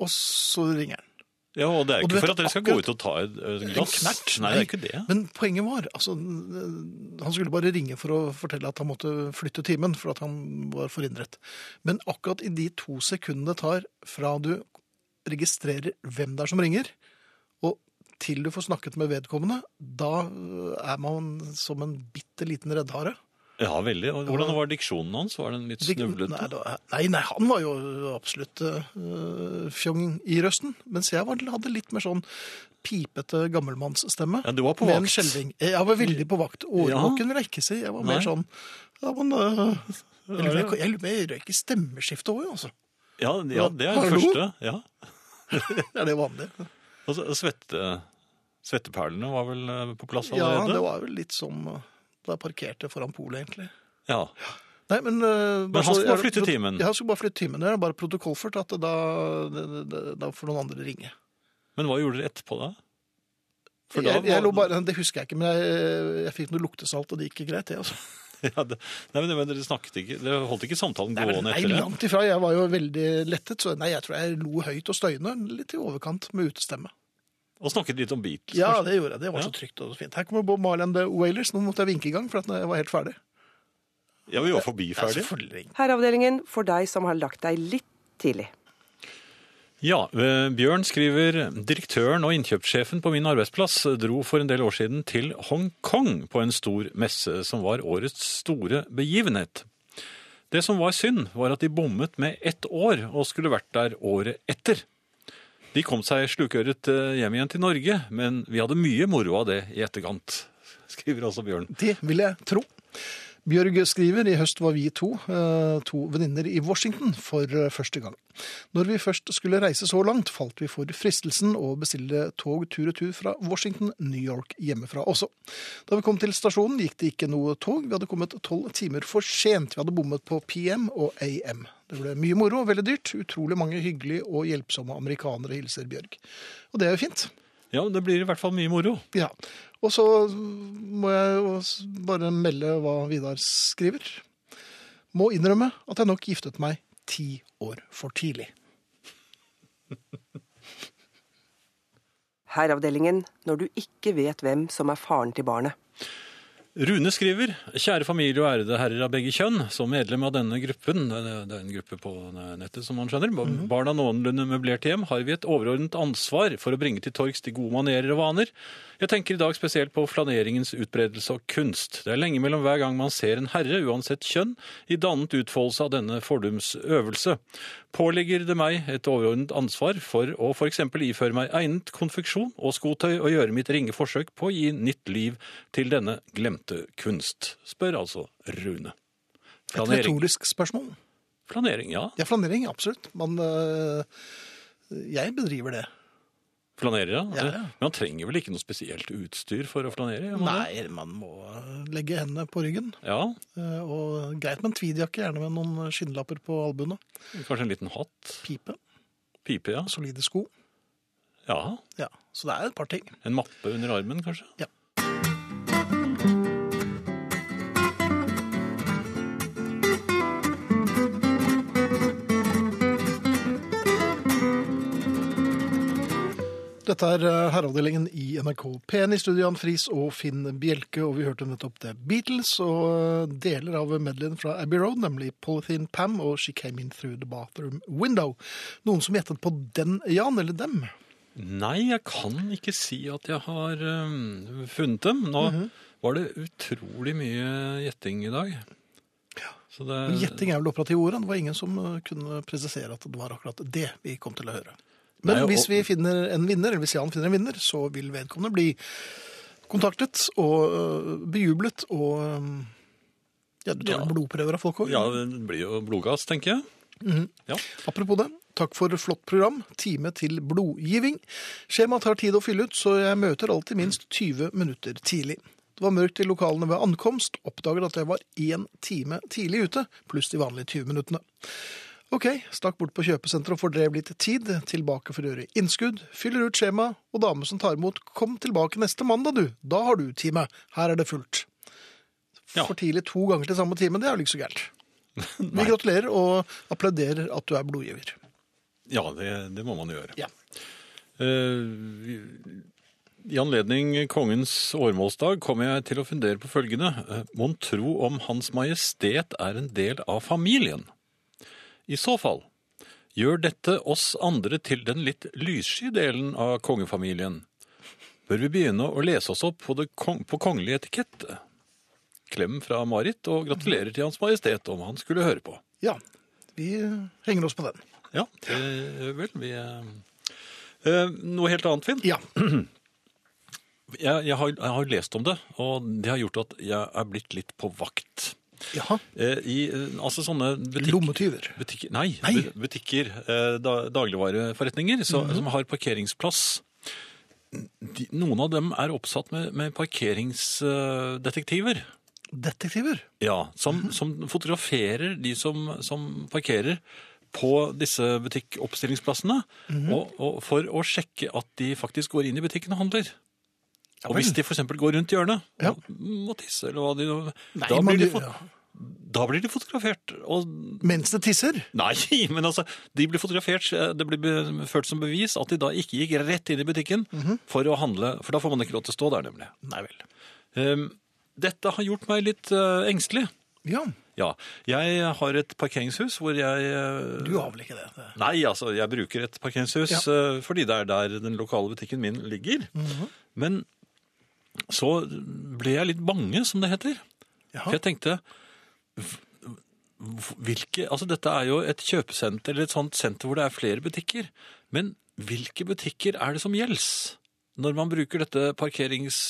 B: og så ringer han.
A: Ja, og det er
B: Og du
A: ikke
B: vet
A: for at dere skal
B: akkurat-
A: gå ut og ta et, et glass.
B: knert.
A: Nei, det er ikke det.
B: Men poenget var altså, eh, Han skulle bare ringe for å fortelle at han måtte flytte timen, for at han var forhindret. Men akkurat i de to sekundene det tar fra du registrerer hvem det er som ringer, og til du får snakket med vedkommende, da eh, er man som en bitte liten reddhare.
A: Ja, veldig. Og hvordan var diksjonen hans? Var den litt
B: Nei,
A: snuvlete?
B: da- nei, nei, han var jo absolutt eh, fjong i røsten, mens jeg var, hadde litt mer sånn pipete gammelmannsstemme.
A: Ja, du var på
B: Med en
A: vakt.
B: skjelving. Jeg var veldig på vakt. Årvåken vil jeg ikke si. Jeg var mer
A: Nei.
B: sånn ja, men, eh, jeg lurer på- Jeg lurer på- jeg røyk i stemmeskiftet òg, altså. *laughs*
A: Ja, ja, det er det
B: Hallo?
A: første. Ja.
B: Er det vanlig?
A: Og så- svette, svetteperlene var vel eh, på plass
B: Ja, det
A: allerede?
B: var vel litt som eh, da jeg parkerte foran polet, egentlig.
A: Ja,
B: Nei, men, eh, bare
A: han
B: så-
A: skulle bare
B: jeg-
A: flytte timen.
B: Ja, han skulle bare flytte timen. Det er bare protokollført at da, da- da, da får noen andre ringe.
A: Men hva gjorde dere etterpå da? *laughs* For da
B: jeg, jeg
A: var-
B: lå bare, det husker jeg ikke, men jeg, jeg fikk noe luktesalt, og det gikk greit, det. altså.
A: Ja, det, nei, men, men dere snakket ikke, dere holdt ikke samtalen
B: Nei, men
A: gående
B: nei,
A: etter det?
B: langt ifra. Jeg var jo veldig lettet, så nei, jeg tror jeg lo høyt og støyende. Litt i overkant med utestemme.
A: Og snakket litt om Beatles.
B: Ja,
A: kanskje.
B: det gjorde jeg. Det var så trygt og så fint. Her kommer Bob Marley and the Wailers. Nå måtte jeg vinke i gang, for at jeg var helt ferdig.
A: ja vi var forbi ferdig.
B: selvfølgelig.
C: Herreavdelingen for deg som har lagt deg litt tidlig.
A: Ja, eh, Bjørn skriver direktøren og innkjøpssjefen på min arbeidsplass dro for en del år siden til Hongkong på en stor messe som var årets store begivenhet. Det som var synd, var at de bommet med ett år og skulle vært der året etter. De kom seg slukøret eh, hjem igjen til Norge, men vi hadde mye moro av det i etterkant, *laughs* skriver altså Bjørn.
B: Det vil jeg tro. Bjørg skriver i høst var vi to, eh, to venninner i Washington for eh, første gang. Når vi først skulle reise så langt, falt vi for fristelsen å bestille tog tur-retur fra Washington, New York hjemmefra også. Da vi kom til stasjonen, gikk det ikke noe tog. Vi hadde kommet tolv timer for sent. Vi hadde bommet på PM og AM. Det ble mye moro og veldig dyrt. Utrolig mange hyggelige og hjelpsomme amerikanere, hilser Bjørg. Og det er jo fint.
A: Ja, det blir i hvert fall mye moro.
B: Ja. Og så må jeg jo s- bare melde hva Vidar skriver. Må innrømme at jeg nok giftet meg ti år for tidlig.
C: Herreavdelingen når du ikke vet hvem som er faren til barnet.
A: Rune skriver, kjære familie og ærede herrer av begge kjønn, som medlem av denne gruppen, det er en gruppe på nettet som man skjønner, barna noenlunde møblert hjem, har vi et overordnet ansvar for å bringe til torgs de gode manerer og vaner. Jeg tenker i dag spesielt på flaneringens utbredelse og kunst. Det er lenge mellom hver gang man ser en herre, uansett kjønn, i dannet utfoldelse av denne fordums øvelse. Pålegger det meg et overordnet ansvar for å for eksempel iføre meg egnet konfeksjon og skotøy og gjøre mitt ringe forsøk på å gi nytt liv til denne glemte kunst, spør altså Rune.
B: Et
A: Flanering.
B: retorisk spørsmål.
A: Flanering, ja.
B: Ja, flanering, absolutt. Men øh, jeg bedriver det.
A: Flanerer, ja.
B: Ja, ja.
A: Men han trenger vel ikke noe spesielt utstyr for å flanere? gjør man det?
B: Nei, man må eh, legge hendene på ryggen.
A: Ja,
B: øh, Og greit med en tweedjakke, gjerne med noen skinnlapper på albuene.
A: kanskje en liten hatt?
B: Pipe,
A: Pipe, ja.
B: solide sko.
A: Ja,
B: Ja, Så det er et par ting.
A: en mappe under armen, kanskje?
B: Ja. Dette er eh, herreavdelingen i NRK P1 i studio Jan Friis og Finn Bjelke, og vi hørte nettopp The Beatles og eh, deler av medleyen fra Abbey Road, nemlig Polythene Pam og She Came In Through The Bathroom Window. Noen som gjettet på den, Jan, eller dem?
A: Nei, jeg kan ikke si at jeg har øhm, funnet dem. Nå var det utrolig mye gjetting i dag. Så
B: Men
A: det,
B: Gjetting er vel operative ordet. Det var ingen som eh, kunne presisere at det var akkurat det vi kom til å høre. Men
A: Nei, og-
B: hvis vi finner en vinner, eller hvis Jan finner en vinner, så vil vedkommende bli kontaktet og eh, bejublet og eh, Ja, du tar
A: Ja.
B: vel blodprøver av folk òg?
A: ja, det blir jo blodgass, tenker jeg. Ja.
B: Apropos det, takk for flott program. Time til blodgiving. Skjemaet tar tid å fylle ut, så jeg møter alltid minst 20 minutter tidlig. Det var mørkt i lokalene ved ankomst, oppdaget at jeg var én time tidlig ute, pluss de vanlige 20 minuttene. Ok, stakk bort på kjøpesenteret og fordrev litt tid, tilbake for å gjøre innskudd, fyller ut skjema, og dame som tar imot, kom tilbake neste mandag du, da har du time, her er det fullt.
A: Ja.
B: For tidlig to ganger til samme time, det er jo ikke så gærent. Vi gratulerer og applauderer at du er blodgiver.
A: Ja, det, det må man gjøre.
B: Ja.
A: Eh, I anledning kongens åremålsdag kom jeg til å fundere på følgende. Eh, Mon tro om Hans Majestet er en del av familien? I så fall, gjør dette oss andre til den litt lyssky delen av kongefamilien? Bør vi begynne å lese oss opp på, det kong på kongelig etikette? Klem fra Marit, og gratulerer til Hans Majestet om han skulle høre på.
B: Ja, vi henger oss på den.
A: Ja, det, vel, vi eh, eh, Noe helt annet, Finn.
B: Ja,
A: Jeg, jeg, har, jeg har lest om det, og det har gjort at jeg er blitt litt på vakt.
B: Jaha.
A: Eh, I eh, altså sånne butikk,
B: lommetyver.
A: butikker Nei,
B: Nei. Mhm.
A: bu- butikker, eh, da, dagligvareforretninger så, som har parkeringsplass. De, noen av dem er oppsatt med, med parkeringsdetektiver.
B: Detektiver.
A: Ja, som, som fotograferer de som, som parkerer på disse butikkoppstillingsplassene,
B: Mhm.
A: og, og for å sjekke at de faktisk går inn i butikken og handler. Og hvis de for eksempel går rundt hjørnet
B: Ja.
A: og må tisse, eller hva de...
B: Nei,
A: da,
B: man
A: blir de
B: gjør-
A: fot-
B: ja.
A: da blir de fotografert. Og *laughs*
B: Mens det tisser.
A: Nei, men altså, de blir fotografert, det blir be- ført som bevis at de da ikke gikk rett inn i butikken
B: Mhm.
A: for å handle, for da får man ikke lov til å stå der nemlig. Nei vel. Ehm, dette har gjort meg litt eh, engstelig.
B: Ja.
A: Ja, jeg har et parkeringshus hvor jeg... eh,
B: Du har vel ikke det? det.
A: Nei, altså, jeg bruker et parkeringshus eh, fordi det er der den lokale butikken min ligger.
B: Mhm.
A: Men så ble jeg litt bange, som det heter. For
B: Jaha.
A: jeg tenkte v- v- hvilke, altså Dette er jo et kjøpesenter eller et sånt senter hvor det er flere butikker. Men hvilke butikker er det som gjelder når man bruker dette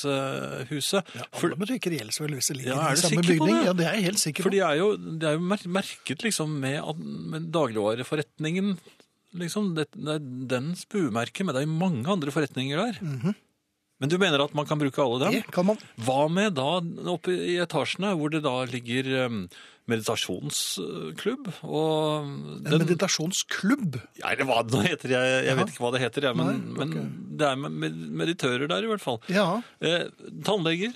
A: parkeringshuset?
B: Alle
A: for,
B: butikker gjelder så vel hvis de ligger
A: Ja, er
B: i
A: du
B: samme
A: sikker på
B: bygning.
A: det?
B: Ja, det er jeg helt sikker
A: for
B: på.
A: de er jo, det er jo mer, merket liksom med, at- med dagligvareforretningen. Liksom, det, det er dens buemerke, men det er jo mange andre forretninger der. Men du mener at man kan bruke alle dem?
B: Mhm. Det kan man.
A: Hva med da oppe i etasjene hvor det da ligger em, meditasjonsklubb og
B: En
A: den,
B: meditasjonsklubb.
A: Nei, det var det nå heter, jeg, jeg vet ikke hva det heter, jeg, men,
B: Nei, ok.
A: men det er med- med meditører der i hvert fall.
B: Ja.
A: Eh, tannleger.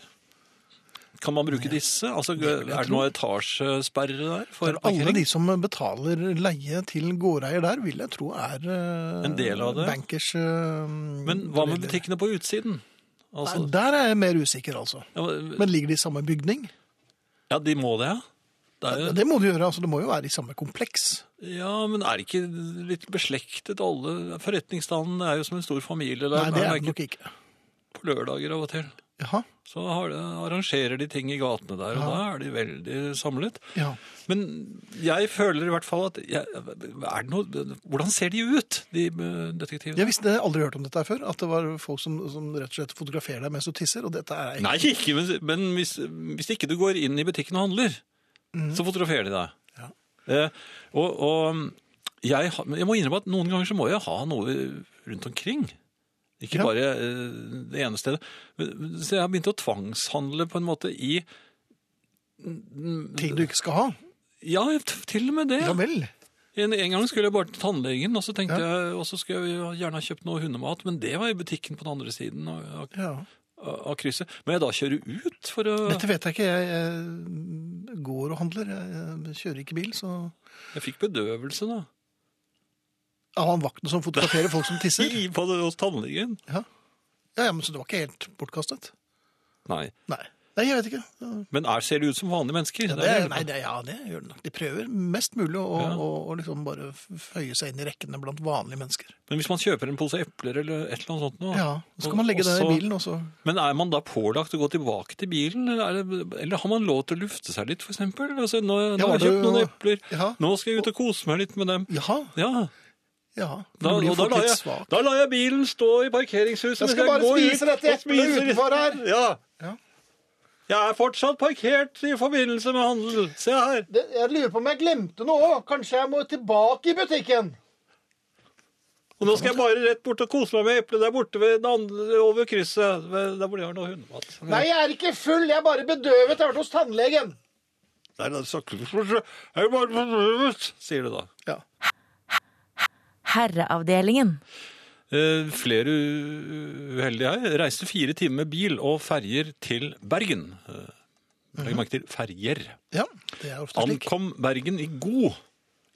A: Kan man bruke disse? Altså, er det noe etasjesperre der for
B: Alle
A: parkering?
B: de som betaler leie til gårdeier der, vil jeg tro er eh,
A: En del av det.
B: bankers eh,
A: Men hva med
B: eller-
A: butikkene på utsiden? Altså,
B: Nei, Der er jeg mer usikker, altså.
A: ja,
B: Men ligger de i samme bygning?
A: ja, de må det, ja. Det er jo,
B: Det må de gjøre. altså Det må jo være i samme kompleks.
A: ja, men er det ikke litt beslektet alle? Forretningsstanden er jo som en stor familie. Der.
B: Nei, det
A: Er
B: er
A: ikke-
B: det nok ikke.
A: på lørdager av og til.
B: Jaha.
A: Så har det, arrangerer de ting i gatene der, og da er de veldig samlet.
B: Ja.
A: Men jeg føler i hvert fall at jeg, er det noe, Hvordan ser de ut, de eh, detektivene?
B: Jeg visste jeg har aldri hørt om dette her før, at det var folk som, som rett og slett fotograferer deg mens du tisser. Og dette er
A: Nei, ikke, men, men hvis, hvis ikke du går inn i butikken og handler,
B: Mhm.
A: så fotograferer de deg. Eh, og og jeg, har- men jeg må innrømme at noen ganger så må jeg ha noe rundt omkring. Ikke
B: Ja.
A: bare eh, det ene stedet. Men- Så jeg har begynt å tvangshandle på en måte i
B: ting du ikke skal ha.
A: Ja, t- til og med det.
B: Ja vel.
A: En, en gang skulle jeg bare til tannlegen, og så tenkte jeg, og så skulle jeg jo gjerne ha kjøpt noe hundemat, men det var i butikken på den andre siden av, av,
B: Ja.
A: av krysset. Må jeg da kjøre ut for å
B: Dette vet jeg ikke. Jeg, eh, går og handler. Jeg, jeg kjører ikke bil, så
A: Jeg fikk bedøvelse, da.
B: Av han vakten som fotograferer folk som tisser?
A: I, på, hos tannlegen.
B: Ja, ja, men Så det var ikke helt bortkastet?
A: Nei.
B: Nei. Nei, jeg vet ikke. Ja.
A: Men er, ser de ut som vanlige mennesker?
B: Ja, det, er- nei, det, er- ja, det gjør det nok. De prøver mest mulig å,
A: Ja.
B: å, å liksom bare f- føye seg inn i rekkene blant vanlige mennesker.
A: Men hvis man kjøper en pose epler eller et eller annet sånt nå,
B: Ja, Så
A: og-
B: kan man legge
A: og
B: det i
A: så-
B: bilen, og så
A: Men er man da pålagt å gå tilbake til bilen, eller, er det, eller har man lov til å lufte seg litt, for eksempel? Altså, nå, nå
B: Ja,
A: har jeg
B: var
A: kjøpt noen
B: det-
A: epler,
B: Ja.
A: nå skal jeg ut og kose meg litt med dem.
B: Jaha,
A: Ja,
B: ja.
A: Da,
B: Du blir jo
A: og da,
B: fort
A: lar
B: litt
A: jeg,
B: svak.
A: da lar jeg bilen stå i parkeringshuset.
B: Jeg
A: mens
B: skal bare
A: går
B: spise
A: ut
B: dette
A: og
B: eplet
A: spiser-
B: utenfor her.
A: Ja.
B: Ja.
A: Jeg er fortsatt parkert i forbindelse med handel. Se her.
B: Det- Jeg lurer på om jeg glemte noe. Kanskje jeg må tilbake i butikken?
A: Og nå skal jeg bare rett bort og kose meg med eplet der borte ved den andre, over krysset. Ved, der hvor de har noe hundemat.
B: jeg er ikke full. Jeg er bare bedøvet. Jeg har vært hos tannlegen.
A: Nei, det er så kult. Jeg er bare fornøyd, Sier du da.
B: Ja.
F: Herreavdelingen.
A: Eh, flere u- uheldige her. Reiste fire timer med bil og ferger til Bergen. Eh, Legg merke til ferger.
B: ja. Det er ofte slik.
A: Ankom Bergen i god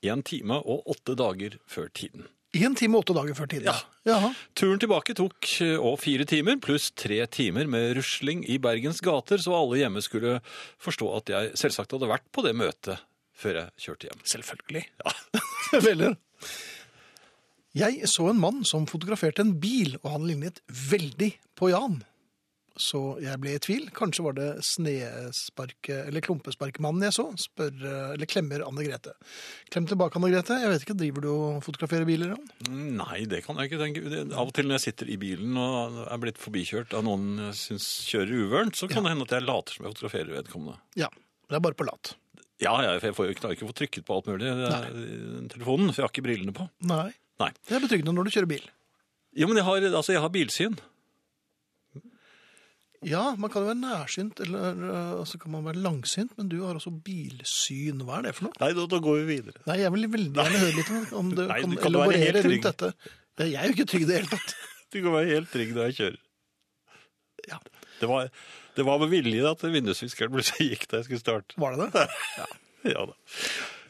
A: en time og åtte dager før tiden.
B: Én time og åtte dager før tiden.
A: Ja.
B: Jaha.
A: Turen tilbake tok eh, og fire timer, pluss tre timer med rusling i Bergens gater, så alle hjemme skulle forstå at jeg selvsagt hadde vært på det møtet før jeg kjørte hjem. Selvfølgelig. Ja.
B: *laughs* Veldig. Jeg så en mann som fotograferte en bil, og han lignet veldig på Jan. Så jeg ble i tvil. Kanskje var det snesparke- eller klumpesparkmannen jeg så? Spør, eller klemmer Anne Grete. Klem tilbake, Anne Grete. Jeg vet ikke, driver du og fotograferer biler? Jan?
A: Nei, det kan jeg ikke tenke. Det, av og til når jeg sitter i bilen og er blitt forbikjørt av noen jeg syns kjører uvørent, så kan det hende at jeg later som jeg fotograferer vedkommende.
B: Ja. Det er bare på lat.
A: Ja, jeg, jeg får jo klarer ikke å få trykket på alt mulig eh, i telefonen, for jeg har ikke brillene på.
B: Nei.
A: Nei.
B: Det er betryggende når du kjører bil.
A: Jo, men jeg har, altså, jeg har bilsyn.
B: Ja, man kan jo være nærsynt, eller øh, så kan man være langsynt, men du har også bilsyn. Hva er det for noe?
A: Nei, da, går vi videre.
B: Nei, jeg vil veldig gjerne høre litt om, om du
A: Nei,
B: kan
A: du kan være helt
B: elaborere
A: trygg.
B: rundt dette. Jeg er jo ikke trygg i det hele tatt.
A: Du kan være helt trygg når jeg kjører.
B: Ja.
A: Det var, det var med vilje at vindusviskeren plutselig gikk da jeg skulle starte. *laughs*
B: Var det det? Ja.
A: Ja da.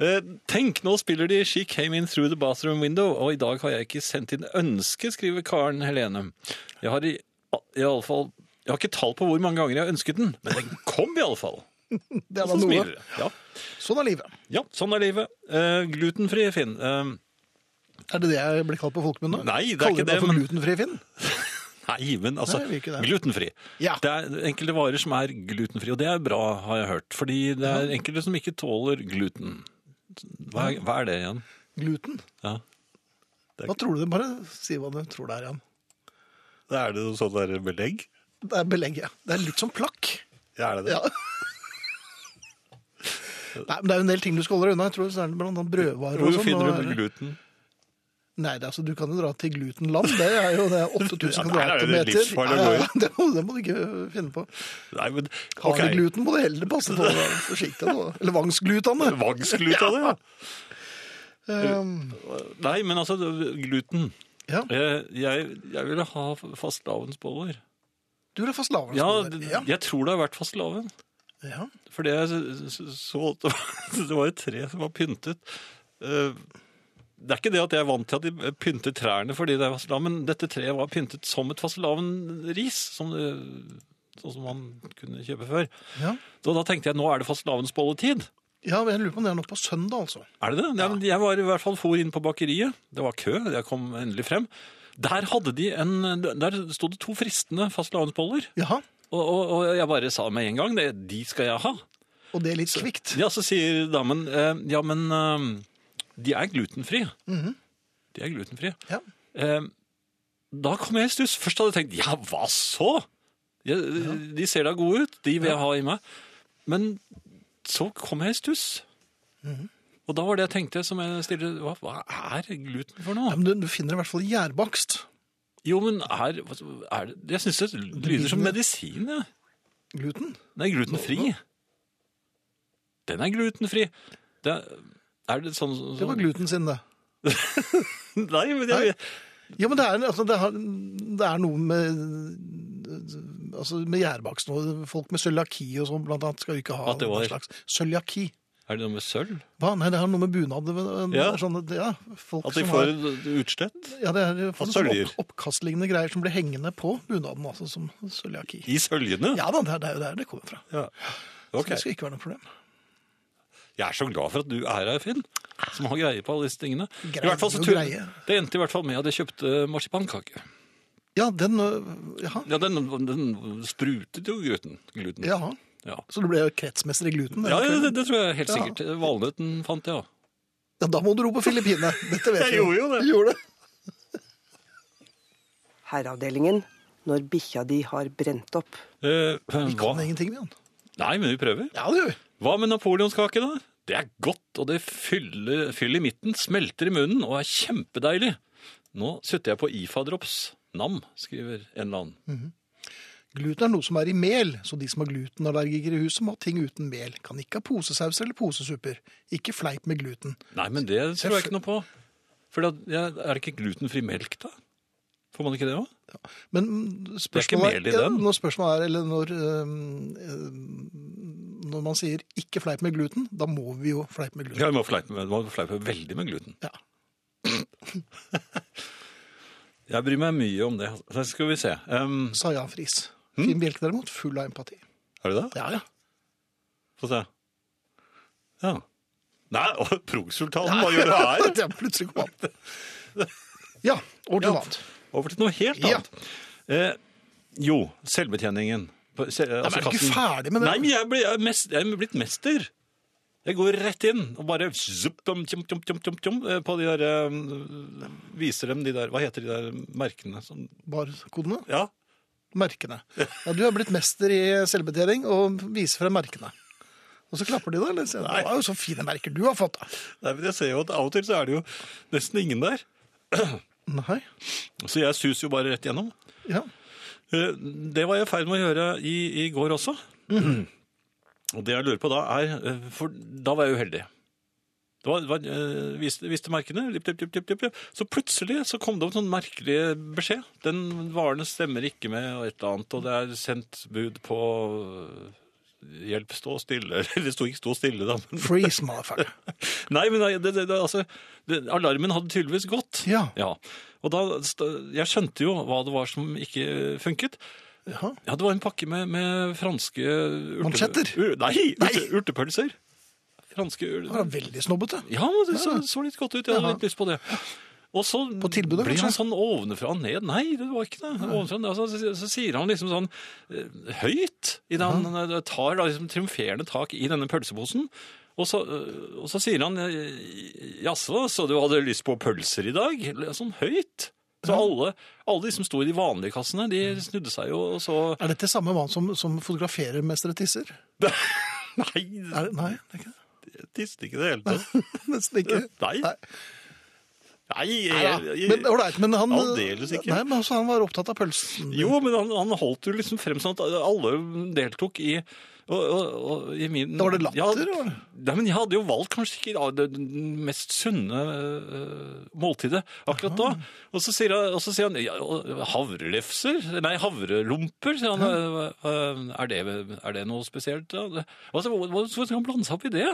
A: Eh, Tenk, nå spiller de She Came In Through The Bathroom Window, og i dag har jeg ikke sendt inn ønske, skriver Karen Helene. Jeg har i, i alle fall Jeg har ikke tall på hvor mange ganger jeg har ønsket den, men den kom i alle fall.
B: Det
A: Og så
B: var noe.
A: smiler jeg. Ja.
B: Sånn er livet.
A: ja, sånn er livet. Eh, glutenfri, Finn. Eh,
B: Er det det jeg blir kalt på folkemunne?
A: Nei, det er
B: Kaller
A: ikke
B: du meg
A: det,
B: for
A: men-
B: glutenfri, Finn?
A: nei, men altså
B: Nei, jeg vil ikke det.
A: Glutenfri.
B: Ja.
A: Det er enkelte varer som er glutenfri, og det er bra, har jeg hørt. Fordi det er enkelte som ikke tåler gluten. Hva er, hva er det igjen?
B: Gluten?
A: Ja. Det er-
B: Hva tror du det Bare si hva du tror det er igjen.
A: Er det noe sånt der belegg?
B: Det er belegg, ja. Det er litt som plakk.
A: Ja, er det det? *laughs*
B: Ja. Nei, men Det er jo en del ting du skal holde deg unna. Jeg tror det er blant annet brødvarer og
A: Hvor
B: sånn.
A: finner
B: og-
A: du gluten?
B: Nei, det er, altså, Du kan jo dra til glutenland. Det er jo
A: *laughs*
B: det er 8000
A: Ja, der er det
B: kvadratmeter.
A: livsfarlig å gå i.
B: ja, det, må, det må du ikke finne på.
A: Nei, men
B: Har
A: ok.
B: du gluten, må du heller passe på. da. Forsiktig nå. Eller
A: *laughs*
B: vangsglutane.
A: Vangsglut av det, ja.
B: Um,
A: Eh, Nei, men altså, det- gluten.
B: ja.
A: Eh, Jeg, jeg ville ha fastelavnsboller.
B: Du vil ha fastelavn?
A: Ja,
B: Ståle.
A: d-
B: ja.
A: jeg tror det har vært fastelavn.
B: ja.
A: For det jeg s- s- så at det var- *laughs* Det var jo tre som var pyntet. Eh, Det er ikke det at jeg er vant til at de eh, pynter trærne fordi det er fastelavn, men dette treet var pyntet som et fastelavnris. Som det, sånn som man kunne kjøpe før.
B: Ja.
A: Så da tenkte jeg nå er det fastelavnsbolletid.
B: ja, men jeg lurer på om det er nå på søndag, altså.
A: Er det det? Ja. men Jeg var i hvert fall for inn på bakeriet. Det var kø, jeg kom endelig frem. Der, hadde de en, der stod det to fristende fastelavnsboller.
B: Jaha.
A: Og, og, og jeg bare sa med en gang, det, de skal jeg ha.
B: Og det er litt kvikt.
A: Ja, så sier damen, eh, ja, men eh, de er glutenfri. De er glutenfri.
B: Ja.
A: Eh, da kom jeg i stuss. Først hadde jeg tenkt, ja, hva så? Ja, De ser da gode ut, de vil jeg ha i meg. Men så kom jeg i stuss. Og da var det jeg tenkte som jeg stiller, hva, hva er gluten for
B: Ja,
A: noe?
B: men du, du finner i hvert fall gjærbakst.
A: Jo, men er, er det, jeg synes det lyder som medisin, ja.
B: Gluten.
A: Den er glutenfri. Den er glutenfri. Det er, er det sånn, sånn
B: Det var gluten sin, det.
A: Nei, men jeg,
B: Ja, men det er, altså, det har- det er noe med altså med gjærbakst nå. Folk med cøliaki og sånn blant annet skal jo ikke ha
A: At det var-
B: den slags cøliaki.
A: er det noe med sølv?
B: Hva? Nei, det har noe med bunad det-
A: Ja.
B: det er sånn, ja, folk
A: At de
B: som
A: får
B: har,
A: utslett?
B: ja, det er folk
A: at
B: som
A: søljer.
B: opp, oppkastlignende greier som blir hengende på bunaden, altså som cøliaki.
A: I søljene?
B: Ja da, det er- det er jo der det kommer fra.
A: Ja.
B: Så
A: Ok.
B: det skal ikke være noe problem.
A: Jeg er så glad for at du er her, Finn, som har greie på alle disse tingene. I
B: Greie
A: hvert fall så
B: og
A: tur-
B: greie.
A: Det endte i hvert fall med at jeg kjøpte eh, marsipankake.
B: Ja, den øh, Jaha.
A: Ja, den, den sprutet jo gluten. gluten.
B: jaha.
A: Ja.
B: Så du ble kretsmester i gluten? den
A: Ja, ja,
B: kvelden?
A: det, det tror jeg helt
B: Ja.
A: sikkert. Valnøtten fant jeg, ja.
B: Ja, da må du ro på
A: *laughs*
B: Filippinene. Dette vet
A: Jeg
B: vi
A: gjorde jo det.
B: Du Gjorde det.
C: Herreavdelingen når bikkja di har brent opp.
A: Eh, hva?
B: Kan ingenting, Jan.
A: Nei, men vi prøver.
B: Ja, det gjør vi.
A: Hva med napoleonskake, da? Det er godt, og det fyller, fyller i midten, smelter i munnen og er kjempedeilig. Nå sutter jeg på IFA-drops. Nam, skriver en eller annen.
B: Gluten er noe som er i mel, så de som har glutenallergiker i huset må ha ting uten mel. Kan ikke ha posesauser eller posesupper. Ikke fleip med gluten.
A: Nei, men det tror jeg ikke noe på. For da, ja, er det ikke glutenfri melk, da? Får man ikke det òg?
B: Men spørsmålet
A: mel i
B: ja,
A: den.
B: når spørsmålet er, eller når, øhm, øhm, når man sier ikke fleip med gluten, da må vi jo fleipe med gluten.
A: Ja, man må fleipe med- man må fleipe veldig med gluten.
B: Ja.
A: *laughs* Jeg bryr meg mye om det. Så skal vi se. Ehm,
B: Sa Jan Friis.
A: Hm?
B: Finn Bjelke derimot, full av empati.
A: er det det?
B: Ja, ja.
A: Få se. Ja. Nei, og Prosultanen, hva gjør du her?
B: *laughs* Det er plutselig kom han. Ja, over til
A: Ja.
B: noe annet.
A: Over til noe helt
B: Ja.
A: annet. Eh, jo, selvbetjeningen. På- se-
B: Nei, men
A: altså
B: er du ikke
A: kassen.
B: ferdig med det?
A: Nei, men jeg, ble, jeg, er mest, jeg er blitt mester. Jeg går rett inn og bare zup, dum, tjum, tjum, tjum, tjum, tjum, eh, på de der eh, Viser dem de der Hva heter de der merkene? Som,
B: Barkodene.
A: ja.
B: Merkene. Ja, du er blitt mester i selvbetjening og viser frem merkene. Og så klapper de deg. eller sier, Det var jo så fine merker du har fått. da.
A: Nei, men jeg ser jo at Av og til så er det jo nesten ingen der.
B: Nei.
A: Så jeg suser jo bare rett gjennom.
B: Ja.
A: Eh, Det var jeg i ferd med å gjøre i, i går også. Og det jeg lurer på da er eh, For da var jeg uheldig. Det var, det var, eh, viste, viste merkene. Lipp, lipp, lipp, lipp, lipp, lipp. Så plutselig så kom det opp sånn merkelig beskjed. Den varen stemmer ikke med og et eller annet, og det er sendt bud på eh, Hjelp, stå stille. *laughs* Eller det sto ikke stå stille, da. Men,
B: Freeze, motherfucker.
A: *laughs* nei, men det, det, det, altså, det, alarmen hadde tydeligvis gått.
B: Ja.
A: Og da st- Jeg skjønte jo hva det var som ikke funket.
B: Jaha.
A: Ja, det var en pakke med, med franske urte...
B: Mansjetter?
A: Ur, nei,
B: Nei.
A: Urte, urtepølser. Franske ur...
B: Det var veldig snobbete.
A: Ja, men det så, så litt godt ut. Jeg hadde
B: Jaha.
A: litt lyst på det. Og så
B: På tilbudet,
A: blir han
B: kanskje?
A: sånn ovenfra og ned. Nei, det var ikke det. Ovenfra, og ned. altså, så, så sier han liksom sånn eh, høyt i det han eh, tar da, liksom, triumferende tak i denne pølseposen. Og så, eh, og så sier han eh, Jaså, så du hadde lyst på pølser i dag? Sånn høyt. Så alle, alle de som sto i de vanlige kassene, de snudde seg jo og så
B: Er dette samme mann som, som fotograferer mestere tisser?
A: Nei,
B: Er det, nei, det er ikke det.
A: jeg tiste ikke i det hele *laughs* tatt.
B: *laughs* Nesten ikke.
A: Øh, Nei. Nei,
B: Ja,
A: jeg, jeg,
B: Men, ålreit, men han,
A: Aldeles ikke.
B: Nei, men altså, han var opptatt av pølsen.
A: Jo, men han, han holdt jo liksom frem sånn at alle deltok i og, og, og, i min,
B: Da var det latter,
A: Ja,
B: eller?
A: Nei, men jeg hadde jo valgt kanskje ikke da, det den mest sunne øh, måltidet akkurat da. Og så sier han, og så sier han ja, og havrelefser? Nei, havrelomper, sier han. øh, øh, er, det, er det noe spesielt? da? Altså, hva- hva- Hvordan skal han blande seg opp i det?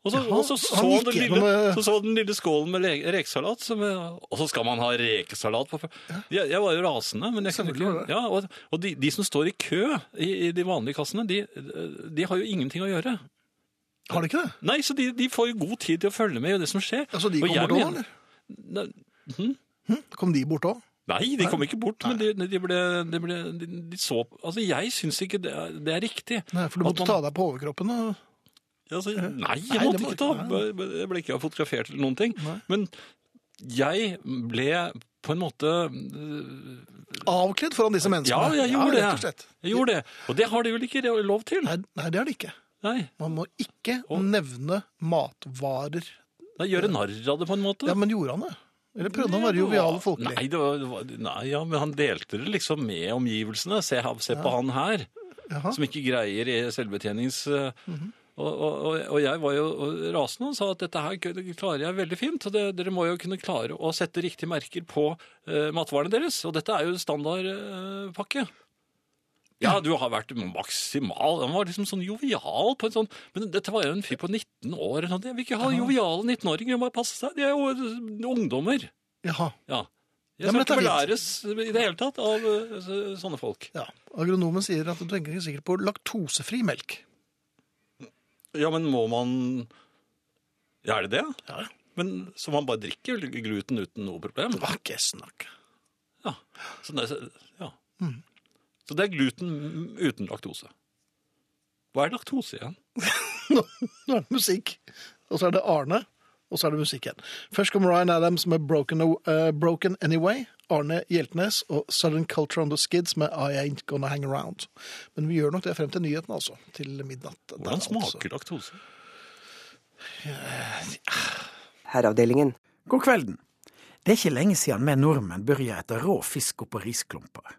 A: Og så,
B: Jaha,
A: og så,
B: han
A: så,
B: gikk
A: den lille,
B: gjennom, øh,
A: så så den lille skålen med le- rekesalat, som, eh, og så skal man ha rekesalat på fø- jeg, jeg var jo rasende, men jeg kunne
B: Selvfølgelig var
A: ikke ja, Og, og de, de som står i kø i, i de vanlige kassene, de, de har jo ingenting å gjøre.
B: Har det ikke det?
A: Nei, så de, de får jo god tid til å følge med i det som skjer.
B: Altså, de
A: Og
B: kom
A: jeg
B: bort òg,
A: mener-
B: eller?
A: Ne-
B: Kom de bort òg?
A: Nei, de kom ikke bort, men de, de ble, de ble de, de så Altså, jeg syns ikke det er, det er riktig.
B: Nei, for du
A: At
B: måtte ta
A: man-
B: deg på overkroppen. Og...
A: Altså, nei, jeg
B: Nei, det
A: måtte
B: må
A: ikke
B: du ikke,
A: ta. Jeg ble ikke fotografert eller noen ting. Men jeg ble på en måte
B: Avkledd foran disse
A: Ja,
B: menneskene.
A: jeg gjorde
B: rett og
A: det.
B: slett.
A: Jeg gjorde det. Og det har de vel ikke lov til?
B: Nei, nei, det er det ikke.
A: Nei.
B: Man må ikke
A: Og-
B: nevne matvarer.
A: Nei, Gjøre narr av det, på en måte.
B: Ja, men gjorde han det? Eller prøvde han å være jovial og folkelig?
A: Nei, det var, det var, nei ja, men han delte det liksom med omgivelsene. Se, her- se på han her,
B: Jaha. Mhm.
A: som ikke greier i selvbetjenings... eh, og, og, og- og jeg var jo rasende og sa at dette her kø- det klarer jeg veldig fint. Og det, dere må jo kunne klare å sette riktige merker på eh, matvarene deres. Og dette er jo standardpakke. ja, du har vært maksimal. Han var liksom sånn jovial på en sånn Men dette var jo en fyr på 19 år. eller sånt. Jeg vil ikke ha joviale 19-åringer. De må passe seg. De er jo eh, ungdommer.
B: Jaha. Ja,
A: Ja. Jeg
B: men
A: skal
B: dette
A: ikke
B: er
A: belæres i det hele tatt av eh, så- sånne folk.
B: Ja. Agronomen sier at du tenker ikke sikkert på laktosefri melk.
A: Ja, men må man Ja, er det det?
B: Ja.
A: Men så man bare drikker gluten uten noe problem?
B: Hva ikke snakk.
A: Ja. Så det, ja. Så det er gluten uten laktose. Hva er laktose igjen?
B: Nå *laughs* nå er det musikk. Og så er det Arne, og så er det musikk igjen. Først kom Ryan Adams med Broken, eh, Broken Anyway. Arne Hjeltnes og Southern Culture on the Skids med I Ain't Gonna Hang Around. Men vi gjør nok det frem til nyheten, altså. Til midnatt. Der,
A: Hvordan
B: altså.
A: smaker laktose?
C: Herreavdelingen.
F: God kvelden. Det er ikke lenge siden vi nordmenn begynte å ete rå fisk oppå risklumper.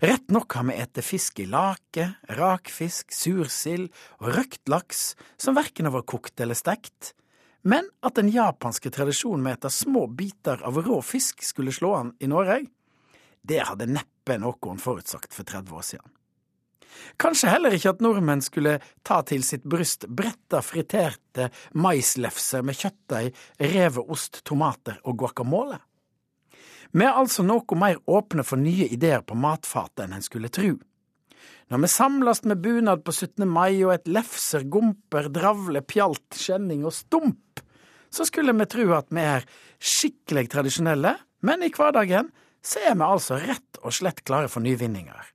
F: Rett nok har vi ete fisk i lake, rakfisk, sursild og røkt laks, som verken har vært kokt eller stekt. Men at den japanske tradisjonen med å ete små biter av rå fisk skulle slå an i Norge, det hadde neppe noen forutsagt for 30 år siden. Kanskje heller ikke at nordmenn skulle ta til sitt bryst bretta, friterte maislefser med kjøttdeig, reveost, tomater og guacamole. Vi er altså noe mer åpne for nye ideer på matfatet enn en skulle tru. Når vi samles med bunad på 17. mai og et lefser, gomper, dravle, pjalt, skjenning og stump, så skulle vi tru at vi er skikkelig tradisjonelle, men i hverdagen så er vi altså rett og slett klare for nyvinninger.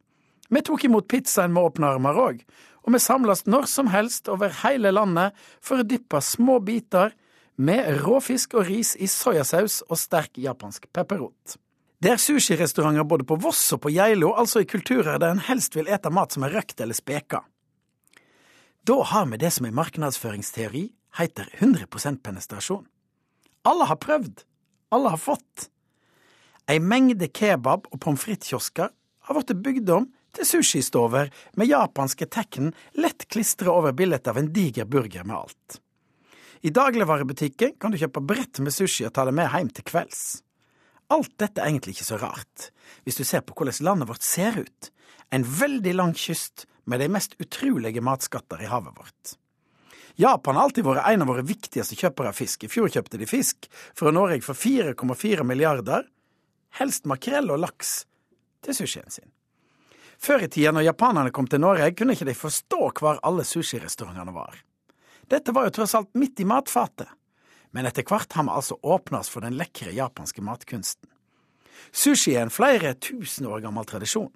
F: Vi tok imot pizzaen med åpne armer òg, og vi samles når som helst over hele landet for å dyppe små biter med råfisk og ris i soyasaus og sterk japansk pepperrot. Det er sushirestauranter både på Voss og på Geilo, altså i kulturer der en helst vil ete mat som er røkt eller speka. Da har vi det som i markedsføringsteori heter 100 penetrasjon. Alle har prøvd. Alle har fått. Ei mengde kebab- og pommes frites-kiosker har blitt bygd om til sushistover med japanske tekken lett klistra over bildet av en diger burger med alt. I dagligvarebutikken kan du kjøpe brett med sushi og ta det med hjem til kvelds. alt dette er egentlig ikke så rart, hvis du ser på hvordan landet vårt ser ut. En veldig lang kyst med de mest utrolige matskatter i havet vårt. Japan har alltid vært en av våre viktigste kjøpere av fisk. I fjor kjøpte de fisk fra Norge for 4,4 milliarder, helst makrell og laks, til sushien sin. Før i tida, når japanerne kom til Norge, kunne ikke de forstå hvor alle sushirestaurantene var. Dette var jo tross alt midt i matfatet. Men etter hvert har vi altså åpna oss for den lekre japanske matkunsten. Sushi er en flere tusen år gammel tradisjon,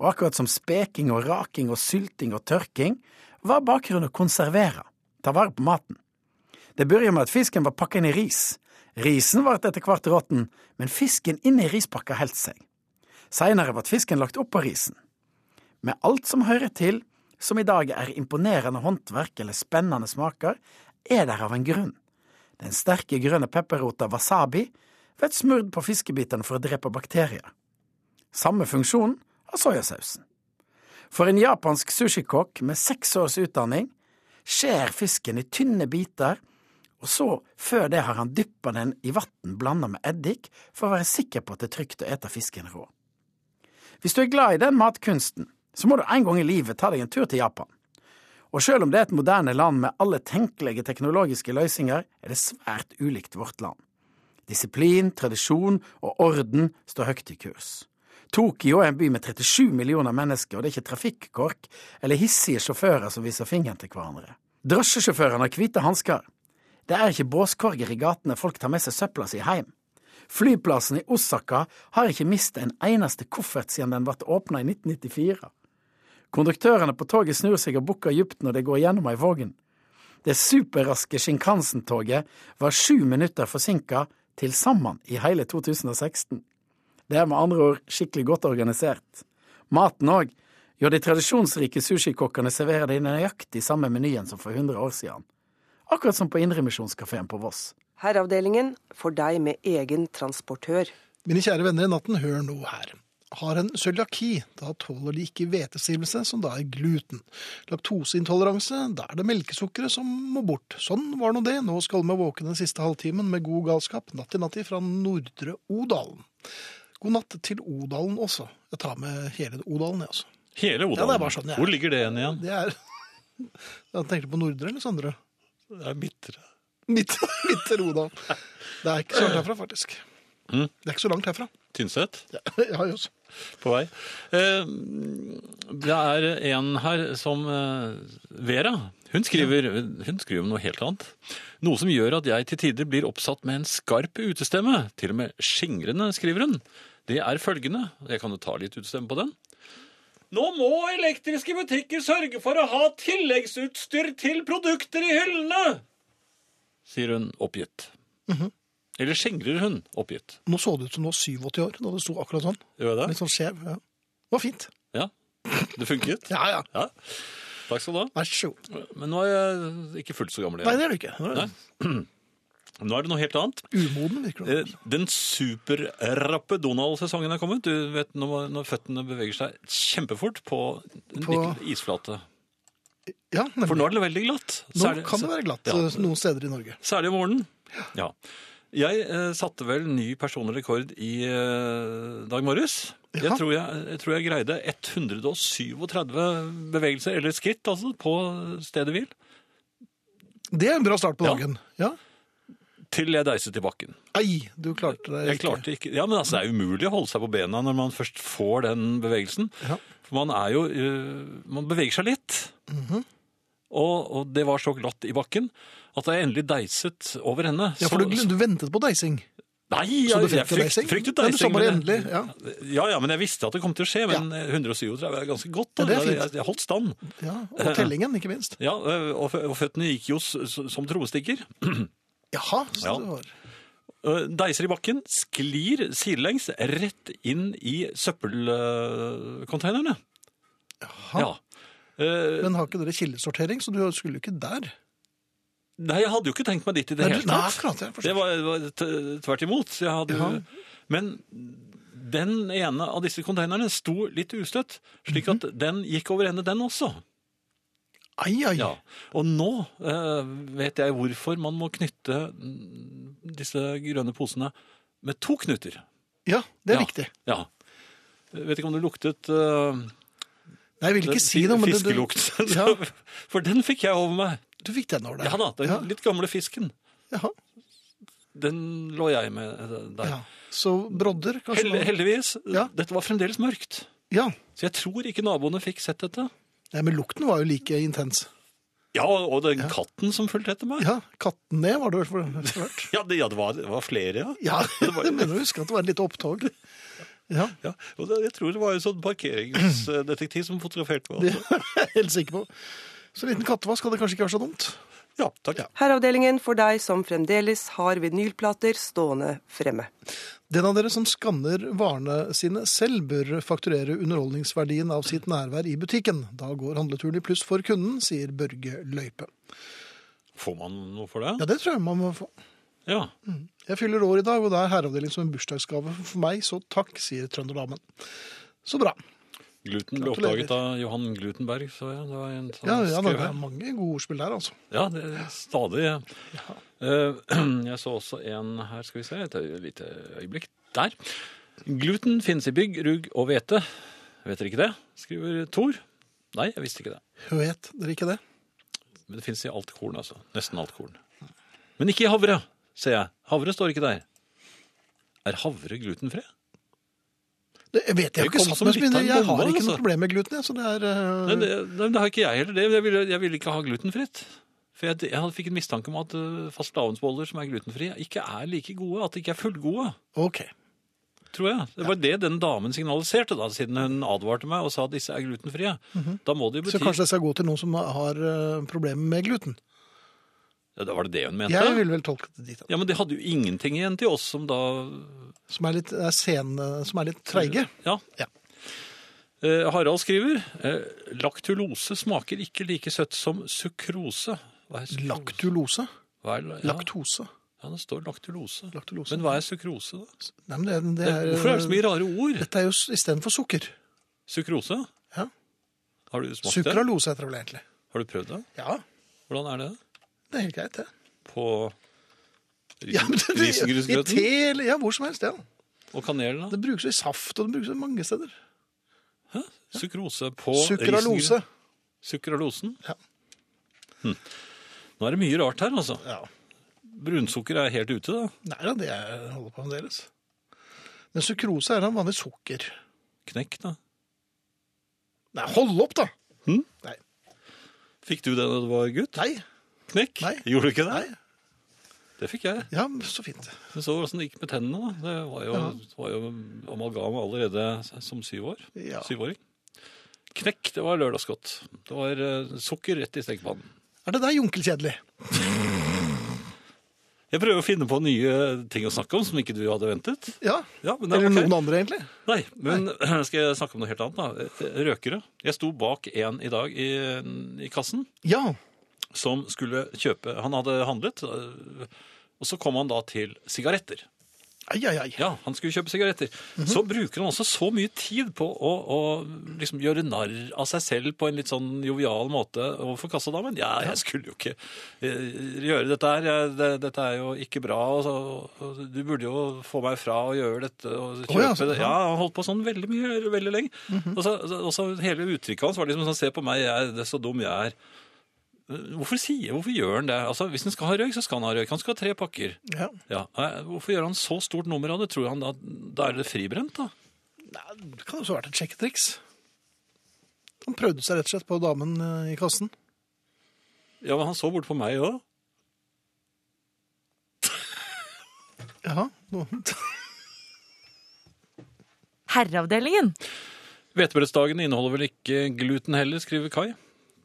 F: og akkurat som speking og raking og sylting og tørking, var bakgrunnen å konservere, ta vare på maten. Det begynte med at fisken var pakka inn i ris. Risen ble etter hvert råtten, men fisken inni rispakka holdt seg. Seinere ble fisken lagt oppå risen. Med alt som hører til, som i dag er imponerende håndverk eller spennende smaker, er der av en grunn. Den sterke grønne pepperrota wasabi blir smurt på fiskebitene for å drepe bakterier. Samme funksjon har soyasausen. For en japansk sushikokk med seks års utdanning skjærer fisken i tynne biter, og så, før det, har han dyppa den i vann blanda med eddik for å være sikker på at det er trygt å ete fisken rå. Hvis du er glad i den matkunsten, så må du en gang i livet ta deg en tur til Japan. Og selv om det er et moderne land med alle tenkelige teknologiske løsninger, er det svært ulikt vårt land. Disiplin, tradisjon og orden står høyt i kurs. Tokyo er en by med 37 millioner mennesker, og det er ikke trafikkork eller hissige sjåfører som viser fingeren til hverandre. Drosjesjåførene har hvite hansker. Det er ikke båskorger i gatene folk tar med seg søpla si hjem. Flyplassen i Osaka har ikke mistet en eneste koffert siden den ble åpna i 1994. Konduktørene på toget snur seg og bukker djupt når de går gjennom ei vågen. Det superraske Shinkansen-toget var sju minutter forsinka til sammen i hele 2016. Det er med andre ord skikkelig godt organisert. Maten òg. Jo, de tradisjonsrike sushikokkene serverer de nøyaktig samme menyen som for 100 år siden. Akkurat som på Indremisjonskafeen på Voss.
C: Herreavdelingen for deg med egen transportør.
B: Mine kjære venner i natten, hør nå her. Har en cøliaki, da tåler de ikke hvetestivelse, som da er gluten. Laktoseintoleranse, da er det melkesukkeret som må bort. Sånn var nå det. Nå skal vi våke den siste halvtimen med god galskap, natti-natti fra Nordre Odalen. God natt til Odalen også. Jeg tar med hele Odalen, jeg, altså.
A: Hele
B: Ja, det er
A: Odalen.
B: bare sånn jeg er.
A: Hvor ligger det igjen igjen?
B: Det er *laughs* Jeg tenkte på Nordre eller Sondre?
A: Det er midtre.
B: Midt, midt til Odalen. Det er ikke så langt herfra, faktisk.
A: Mm.
B: Det er ikke så langt herfra. *laughs*
A: Tynset.
B: Ja, ja, jøss.
A: på vei. Eh, Det er en her som eh, Vera. Hun skriver, hun skriver om noe helt annet. Noe som gjør at jeg til tider blir oppsatt med en skarp utestemme. Til og med skingrende, skriver hun. Det er følgende. Jeg kan jo ta litt utestemme på den. Nå må elektriske butikker sørge for å ha tilleggsutstyr til produkter i hyllene! Sier hun oppgitt. Eller skingrer hun oppgitt.
B: Nå så det ut som du var 87 år da det sto akkurat sånn.
A: Gjør jeg det?
B: Litt sånn skjev. Ja. Det var fint.
A: Ja. Det funket?
B: Ja, ja.
A: Ja. Takk skal du ha.
B: Vær så god.
A: Men nå er jeg ikke fullt så gammel.
B: Nei,
A: igjen.
B: det er du ikke. Nå er du
A: Nå er det noe helt annet.
B: Umoden, virker det.
A: Eh, Den superrappe Donald-sesongen er kommet. Du vet når, når føttene beveger seg kjempefort på en
B: På-
A: liten isflate.
B: Ja,
A: For
B: nemlig.
A: nå er det veldig glatt.
B: Nå
A: Særlig-
B: kan det være glatt
A: Ja.
B: eh, noen steder i Norge.
A: Særlig om morgenen. Ja. Jeg eh, satte vel ny personlig rekord i eh, dag morges.
B: Ja.
A: Jeg, tror jeg, jeg tror jeg greide 137 bevegelser, eller skritt, altså, på stedet hvil.
B: Det er en bra start på
A: Ja.
B: dagen. Ja.
A: Til jeg deiset i bakken.
B: Ei, du klarte det.
A: Jeg klarte ikke. Ja, men altså, Det er umulig å holde seg på bena når man først får den bevegelsen.
B: Ja.
A: For man er jo eh, Man beveger seg litt.
B: Mhm.
A: og, og det var så glatt i bakken at da jeg endelig deiset over henne
B: Ja, for du, gl- du ventet på deising.
A: Nei,
B: Så
A: jeg,
B: du
A: jeg
B: fryktet
A: frykt,
B: deising?
A: fryktet
B: Ja, du sa
A: deising.
B: bare
A: men jeg-
B: endelig, ja.
A: ja, ja, men jeg visste at det kom til å skje. Men 137 er ganske godt. Da.
B: Ja, det er
A: Jeg-
B: fint.
A: Jeg, jeg holdt stand.
B: Ja, og tellingen, ikke minst.
A: Ja, eh, og, fø- og føttene gikk jo s- s- som trommestikker.
B: Jaha, så
A: Ja.
B: det var...
A: Eh, Deiser i bakken, sklir sidelengs rett inn i søppelkonteinerne.
B: Jaha.
A: Ja. Eh,
B: Men har ikke dere kildesortering, så du skulle jo ikke der.
A: Nei, jeg hadde jo ikke tenkt meg dit i det
B: Nei,
A: hele
B: du, nei,
A: tatt.
B: akkurat, jeg
A: Det
B: forstår.
A: var, var t- tvert imot. Jeg hadde, jo-
B: Ja.
A: Men den ene av disse konteinerne sto litt ustøtt, slik
B: Mhm.
A: at den gikk over ende, den også.
B: Ai, ai.
A: Ja. Og nå eh, vet jeg hvorfor man må knytte mm, disse grønne posene med to knuter.
B: Ja, det er
A: Ja.
B: riktig.
A: Ja. Jeg vet ikke om du luktet eh,
B: Nei, jeg vil
A: den
B: ikke si det, men det, du,
A: *laughs* fiskelukten.
B: Ja.
A: For den fikk jeg over meg.
B: du fikk den over deg.
A: Ja da, den
B: Ja,
A: litt gamle fisken.
B: jaha,
A: Den lå jeg med eh, der.
B: ja. Så brodder, kanskje?
A: Hell, heldigvis. eh,
B: Ja.
A: Dette var fremdeles mørkt.
B: Ja.
A: Så jeg tror ikke naboene fikk sett dette.
B: Nei, men lukten var jo like intens.
A: Ja, og den katten som fulgte etter meg.
B: Ja,
A: Ja,
B: Kattene var det vel for hvert.
A: det, ja, det, var, det var flere, *laughs* ja.
B: Ja,
A: Det var-
B: jeg mener å huske at det var et lite opptog. Ja, *laughs*
A: ja. Og det, jeg tror det var en sånn parkeringsdetektiv som fotograferte meg.
B: det er jeg helt sikker på. Så en liten kattevask hadde kanskje ikke vært så dumt.
A: Ja, takk.
C: Herreavdelingen for deg som fremdeles har vinylplater stående fremme.
B: Den av dere som skanner varene sine selv, bør fakturere underholdningsverdien av sitt nærvær i butikken. Da går handleturen i pluss for kunden, sier Børge Løype.
A: Får man noe for det?
B: Ja, det tror jeg man må få.
A: Ja.
B: Jeg fyller år i dag, og det er herreavdeling som en bursdagsgave for meg, så takk, sier trønderdamen. Så bra.
A: Gluten ble
B: Gratulerer.
A: oppdaget av Johan Glutenberg, så jeg. Det var en sånn
B: Ja, ja det
A: skrev her.
B: er mange gode ordspill der, altså.
A: Ja, det er stadig. Ja. Eh, *clears throat* Jeg så også en her, skal vi se, et øy- lite øyeblikk. Der. Gluten finnes i bygg, rugg og hvete. Vet dere ikke det? Skriver Thor. Nei, jeg visste ikke det.
B: Vet dere ikke det?
A: Men det finnes i alt korn, altså. Nesten alt korn. Men ikke i havre, ser jeg. Havre står ikke der. Er havre glutenfri?
B: Det vet jeg jo
A: Det
B: ikke
A: kom
B: satt
A: som
B: med så
A: litt av
B: mye.
A: en
B: Jeg
A: bombe,
B: har ikke
A: altså.
B: noe problem med gluten, jeg, så det er eh,
A: Nei, det, nei, det har ikke jeg heller. Det. Jeg, ville, jeg ville ikke ha glutenfritt. For jeg, jeg fikk en mistanke om at eh, fastelavnsboller som er glutenfrie, ikke er like gode. At de ikke er fullgode.
B: OK.
A: Tror jeg. Det var det den damen signaliserte, da, siden hun advarte meg og sa at disse er glutenfrie. Da må det jo
B: Mhm. Så
A: bety
B: kanskje jeg skal gå til noen som har eh, problemer med gluten.
A: ja, da Var det det hun mente?
B: Jeg ville vel tolket det dit hen.
A: Ja, Men de hadde jo ingenting igjen til oss som da
B: Som er litt, er sen, eh, som er litt treige.
A: Ja.
B: Ja.
A: Eh, Harald skriver eh, laktulose smaker ikke like søtt som sukrose. Hva er sukrose?
B: Laktulose.
A: Hva er, la- ja,
B: Laktose.
A: ja, det står laktulose.
B: Laktulose.
A: Men hva er sukrose, da?
B: Nei, men det, er- det er,
A: Hvorfor er det så mye rare ord?
B: Dette er jo s- istedenfor sukker.
A: Sukrose?
B: Ja.
A: Har du smakt det?
B: Sukralose heter det vel egentlig.
A: Har du prøvd det?
B: Ja,
A: Hvordan er det?
B: det er helt greit, det.
A: *laughs* På ris-
B: Ja, men det- I
A: risengrynsgrøten?
B: te eller ja, hvor som helst. Ja.
A: Og kanel, da?
B: Det brukes jo i saft, og det brukes jo mange steder.
A: Sukrose på
B: Sukralose.
A: risengryn- Sukralosen?
B: Ja.
A: Hm. Nå er det mye rart her, altså.
B: Ja.
A: Brunsukker er helt ute, da.
B: Nei da, det er- holder på fremdeles. Men sukrose er da vanlig sukker.
A: Knekk, da.
B: Nei, hold opp, da!
A: Hm?
B: Nei.
A: Fikk du det da du var gutt?
B: Nei.
A: Knekk?
B: Nei.
A: Gjorde du ikke det?
B: Nei.
A: Det fikk jeg.
B: Ja, så fint.
A: Men så hvordan det gikk med tennene, da. Det var jo, var jo amalgam allerede som syv år.
B: Ja.
A: Syvåring. Knekk, det var lørdagsgodt. Det var eh, sukker rett i stekepannen.
B: Er det der junkelkjedelig?
A: Jeg prøver å finne på nye ting å snakke om som ikke du hadde ventet.
B: Ja.
A: Ja, men det er
B: Eller
A: ok.
B: noen andre, egentlig?
A: Nei, men *clears throat* skal jeg snakke om noe helt annet da? Eh, Røkere. Jeg sto bak en i dag i, i kassen
B: Ja.
A: som skulle kjøpe, han hadde handlet, øh, og så kom han da til sigaretter.
B: Ai, ai, ai.
A: Ja, han skulle kjøpe sigaretter. Så bruker han også så mye tid på å, å liksom gjøre narr av seg selv på en litt sånn jovial måte overfor kassadamen. Ja, jeg skulle jo ikke eh, gjøre dette her. Jeg- det- Dette er jo ikke bra. Og så, og du burde jo få meg fra å gjøre dette og kjøpe
B: ja, så- Mhm.
A: det. Ja, han holdt på sånn veldig mye, veldig lenge. og, så, og så hele uttrykket hans var liksom sånn, se på meg, jeg, er- det er så dum jeg er. Hvorfor, sier, hvorfor gjør han det? Altså, hvis han skal ha røyk, så skal han ha røyk. Han skal ha tre pakker.
B: Ja.
A: Ja, nei, Hvorfor gjør han så stort nummer av det? Tror han da, da er det fribrent, da?
B: Nei, det kan også ha vært et sjekketriks. Han prøvde seg rett og slett på damen eh, i kassen.
A: Ja, men han så bort på meg òg.
B: Jaha. nå-
A: *laughs*
E: Herreavdelingen.
A: Hvetebrødsdagen inneholder vel ikke gluten heller, skriver Kai.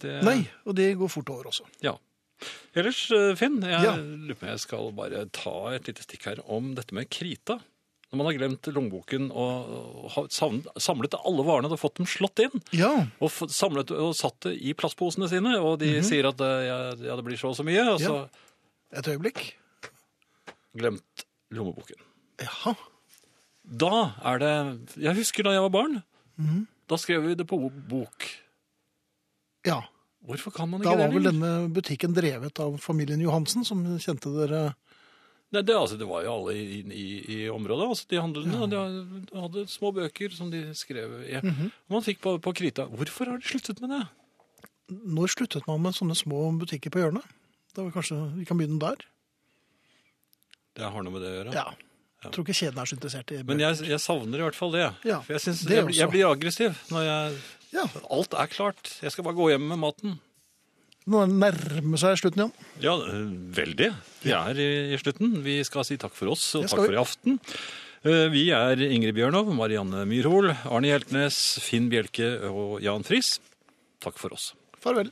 A: Det,
B: Nei, og det går fort over også.
A: Ja. Ellers, eh, Finn, jeg
B: Ja.
A: lurer på om jeg skal bare ta et lite stikk her om dette med krita. Når man har glemt lommeboken og og har savnet, samlet alle varene og fått dem slått inn,
B: Ja.
A: og f- samlet og satt det i plastposene sine, og de sier at eh, ja, ja, det blir så og så mye, og så
B: Mhm. Ja. Et øyeblikk.
A: glemt lommeboken.
B: Jaha.
A: Da er det Jeg husker da jeg var barn. Da skrev vi det på bok.
B: Ja.
A: Hvorfor kan man
B: Da
A: ikke
B: var
A: det
B: vel
A: lenger?
B: denne butikken drevet av familien Johansen, som kjente dere
A: Nei, det, altså, det var jo alle i, i, i området, altså de handlende. og De hadde små bøker som de skrev i.
B: Mhm.
A: Og man fikk på, på krita Hvorfor har de sluttet med det?
B: Når sluttet man med sånne små butikker på hjørnet? Det var kanskje, Vi kan begynne der.
A: Det har noe med det å gjøre.
B: Ja. Jeg tror ikke kjeden er så interessert i
A: Men jeg, jeg savner i hvert fall det.
B: Ja,
A: For jeg, synes,
B: det
A: jeg, blir- jeg
B: også.
A: blir aggressiv når jeg
B: Ja,
A: Alt er klart. Jeg skal bare gå hjem med maten.
B: Nå nærmer seg slutten, Jan.
A: Ja, øh, veldig. Vi er i, i slutten. Vi skal si takk for oss og
B: Det skal
A: takk
B: vi.
A: for i aften. Eh, Vi er Ingrid Bjørnov, Marianne Myrhol, Arne Hjeltnes, Finn Bjelke og Jan Friis. Takk for oss.
B: Farvel.